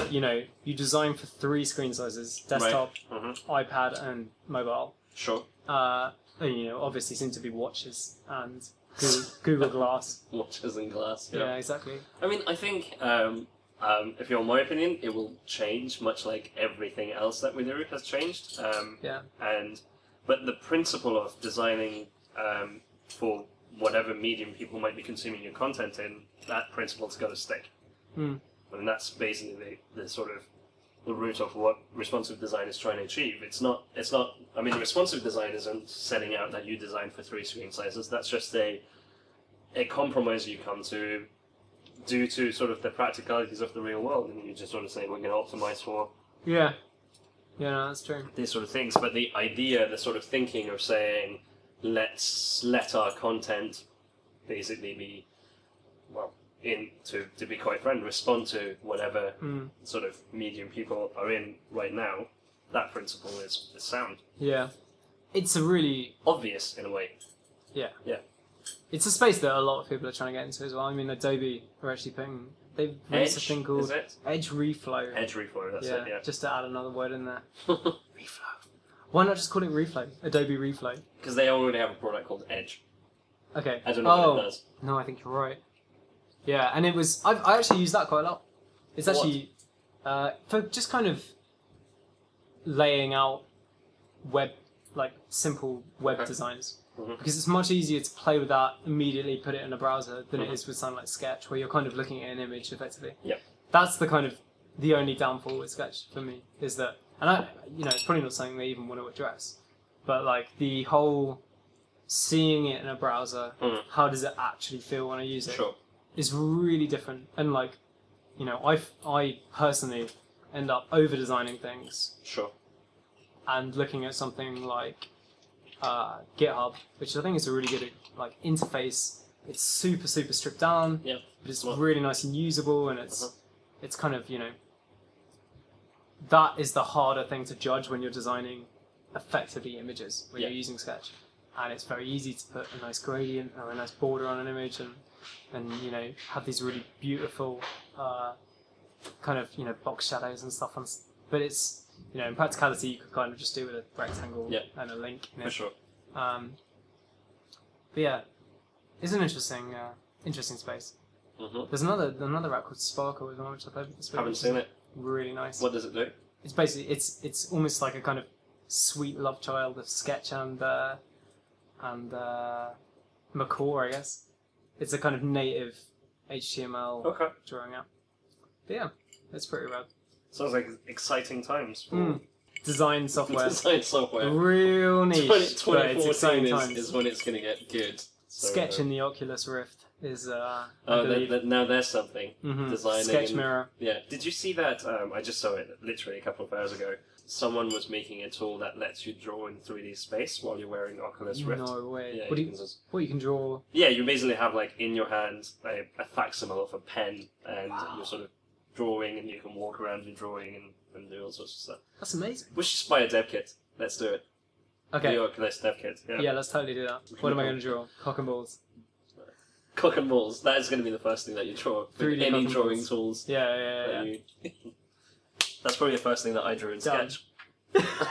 B: you know you design for three screen sizes: desktop,
C: Mhm.
B: iPad, and mobile.
C: sure.
B: Uh, and, you know, obviously, seem to be watches and Google, Google Glass.
C: Watches and glass.
B: Yeah, exactly.
C: I mean, I think, um, um, if you're my opinion, it will change much like everything else that we do has changed. Um,
B: Yeah.
C: And but the principle of designing um, for whatever medium people might be consuming your content in, that principle's got to stick.
B: Mm.
C: I mean, that's basically the, the sort of the root of what responsive design is trying to achieve. It's not. It's not. I mean, responsive design isn't setting out that you design for three screen sizes. That's just a a compromise you come to due to sort of the practicalities of the real world, and you just sort of say we're going to optimize for
B: Yeah. Yeah, no, that's true.
C: these sort of things. But the idea, the sort of thinking of saying, let's let our content basically be, well, in to, to be quite frank, respond to whatever
B: Mm.
C: sort of medium people are in right now, that principle is, is sound.
B: Yeah. It's a really
C: Obvious in a way.
B: It's a space that a lot of people are trying to get into as well. I mean, Adobe are actually putting they've
C: Edge,
B: released a thing
C: is
B: called
C: it?
B: Edge Reflow.
C: Edge reflow, that's
B: yeah,
C: it, yeah.
B: just to add another word in there.
C: Because
B: Reflow. Why not just call it Reflow? Adobe Reflow.
C: they already have a product called Edge.
B: Okay.
C: I don't know
B: oh
C: what it does.
B: no, I think you're right. Yeah, and it was I've, I actually used that quite a lot. It's
C: For what?
B: actually uh, for just kind of laying out web like simple web
C: Okay.
B: designs
C: Mhm.
B: because it's much easier to play with that immediately put it in a browser than it
C: Mhm.
B: is with something like sketch where you're kind of looking at an image effectively
C: Yep.
B: that's the kind of the only downfall with sketch for me is that and i you know it's probably not something they even want to address but like the whole seeing it in a browser
C: Mhm.
B: how does it actually feel when i use it
C: Sure.
B: is really different and like you know i i personally end up over designing things
C: Sure.
B: and looking at something like uh, GitHub, which I think is a really good like interface. It's super super stripped down,
C: Yeah.
B: but it's
C: Well-
B: really nice and usable, and it's
C: Uh-huh.
B: it's kind of you know that is the harder thing to judge when you're designing effectively images when
C: Yeah.
B: you're using Sketch, and it's very easy to put a nice gradient or a nice border on an image and and you know have these really beautiful uh, kind of you know box shadows and stuff on s- but it's you know in practicality you could kind of just do with a rectangle
C: Yeah.
B: and a link you know.
C: For sure.
B: um, but yeah it's an interesting uh, interesting space
C: hmm
B: there's another another app called Sparkle as well which I played this week
C: Haven't
B: which is
C: seen it.
B: really nice
C: What does it do?
B: it's basically it's it's almost like a kind of sweet love child of sketch and uh, and uh, McCaw I guess it's a kind of native HTML
C: Okay.
B: drawing app but yeah it's pretty rad
C: Sounds like exciting times for
B: Mm. design software.
C: design software.
B: Real niche, but it's
C: 2014
B: exciting
C: is,
B: times.
C: is when it's going to get good. So,
B: Sketch
C: uh,
B: in the Oculus Rift is, uh, I
C: Oh, that,
B: believe,
C: that, now there's something.
B: mhm,
C: designing
B: Sketch
C: and-
B: Mirror.
C: Yeah. Did you see that? Um, I just saw it literally a couple of hours ago. someone was making a tool that lets you draw in 3D space while you're wearing Oculus Rift.
B: No way.
C: Yeah,
B: what, do
C: you
B: you,
C: can just-
B: what you can draw?
C: yeah, you basically have like in your hand a, a facsimile of a pen, and
B: Wow.
C: you're sort of drawing, and you can walk around your drawing and, and do all sorts of stuff.
B: That's amazing.
C: We should buy a dev kit. Let's do it.
B: Okay.
C: The Oculus dev kit. Yeah.
B: Yeah. let's totally do that. What am I going to draw? Cock and balls.
C: Cock and balls. That is going to be the first thing that you draw. with
B: 3D cock
C: any
B: and
C: drawing
B: balls.
C: tools.
B: Yeah, yeah,
C: that
B: yeah. yeah.
C: you- That's probably the first thing that I drew in
B: Done.
C: Sketch.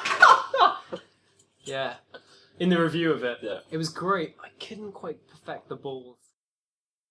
B: yeah. In the review of it,
C: Yeah.
B: it was great. I couldn't quite perfect the balls.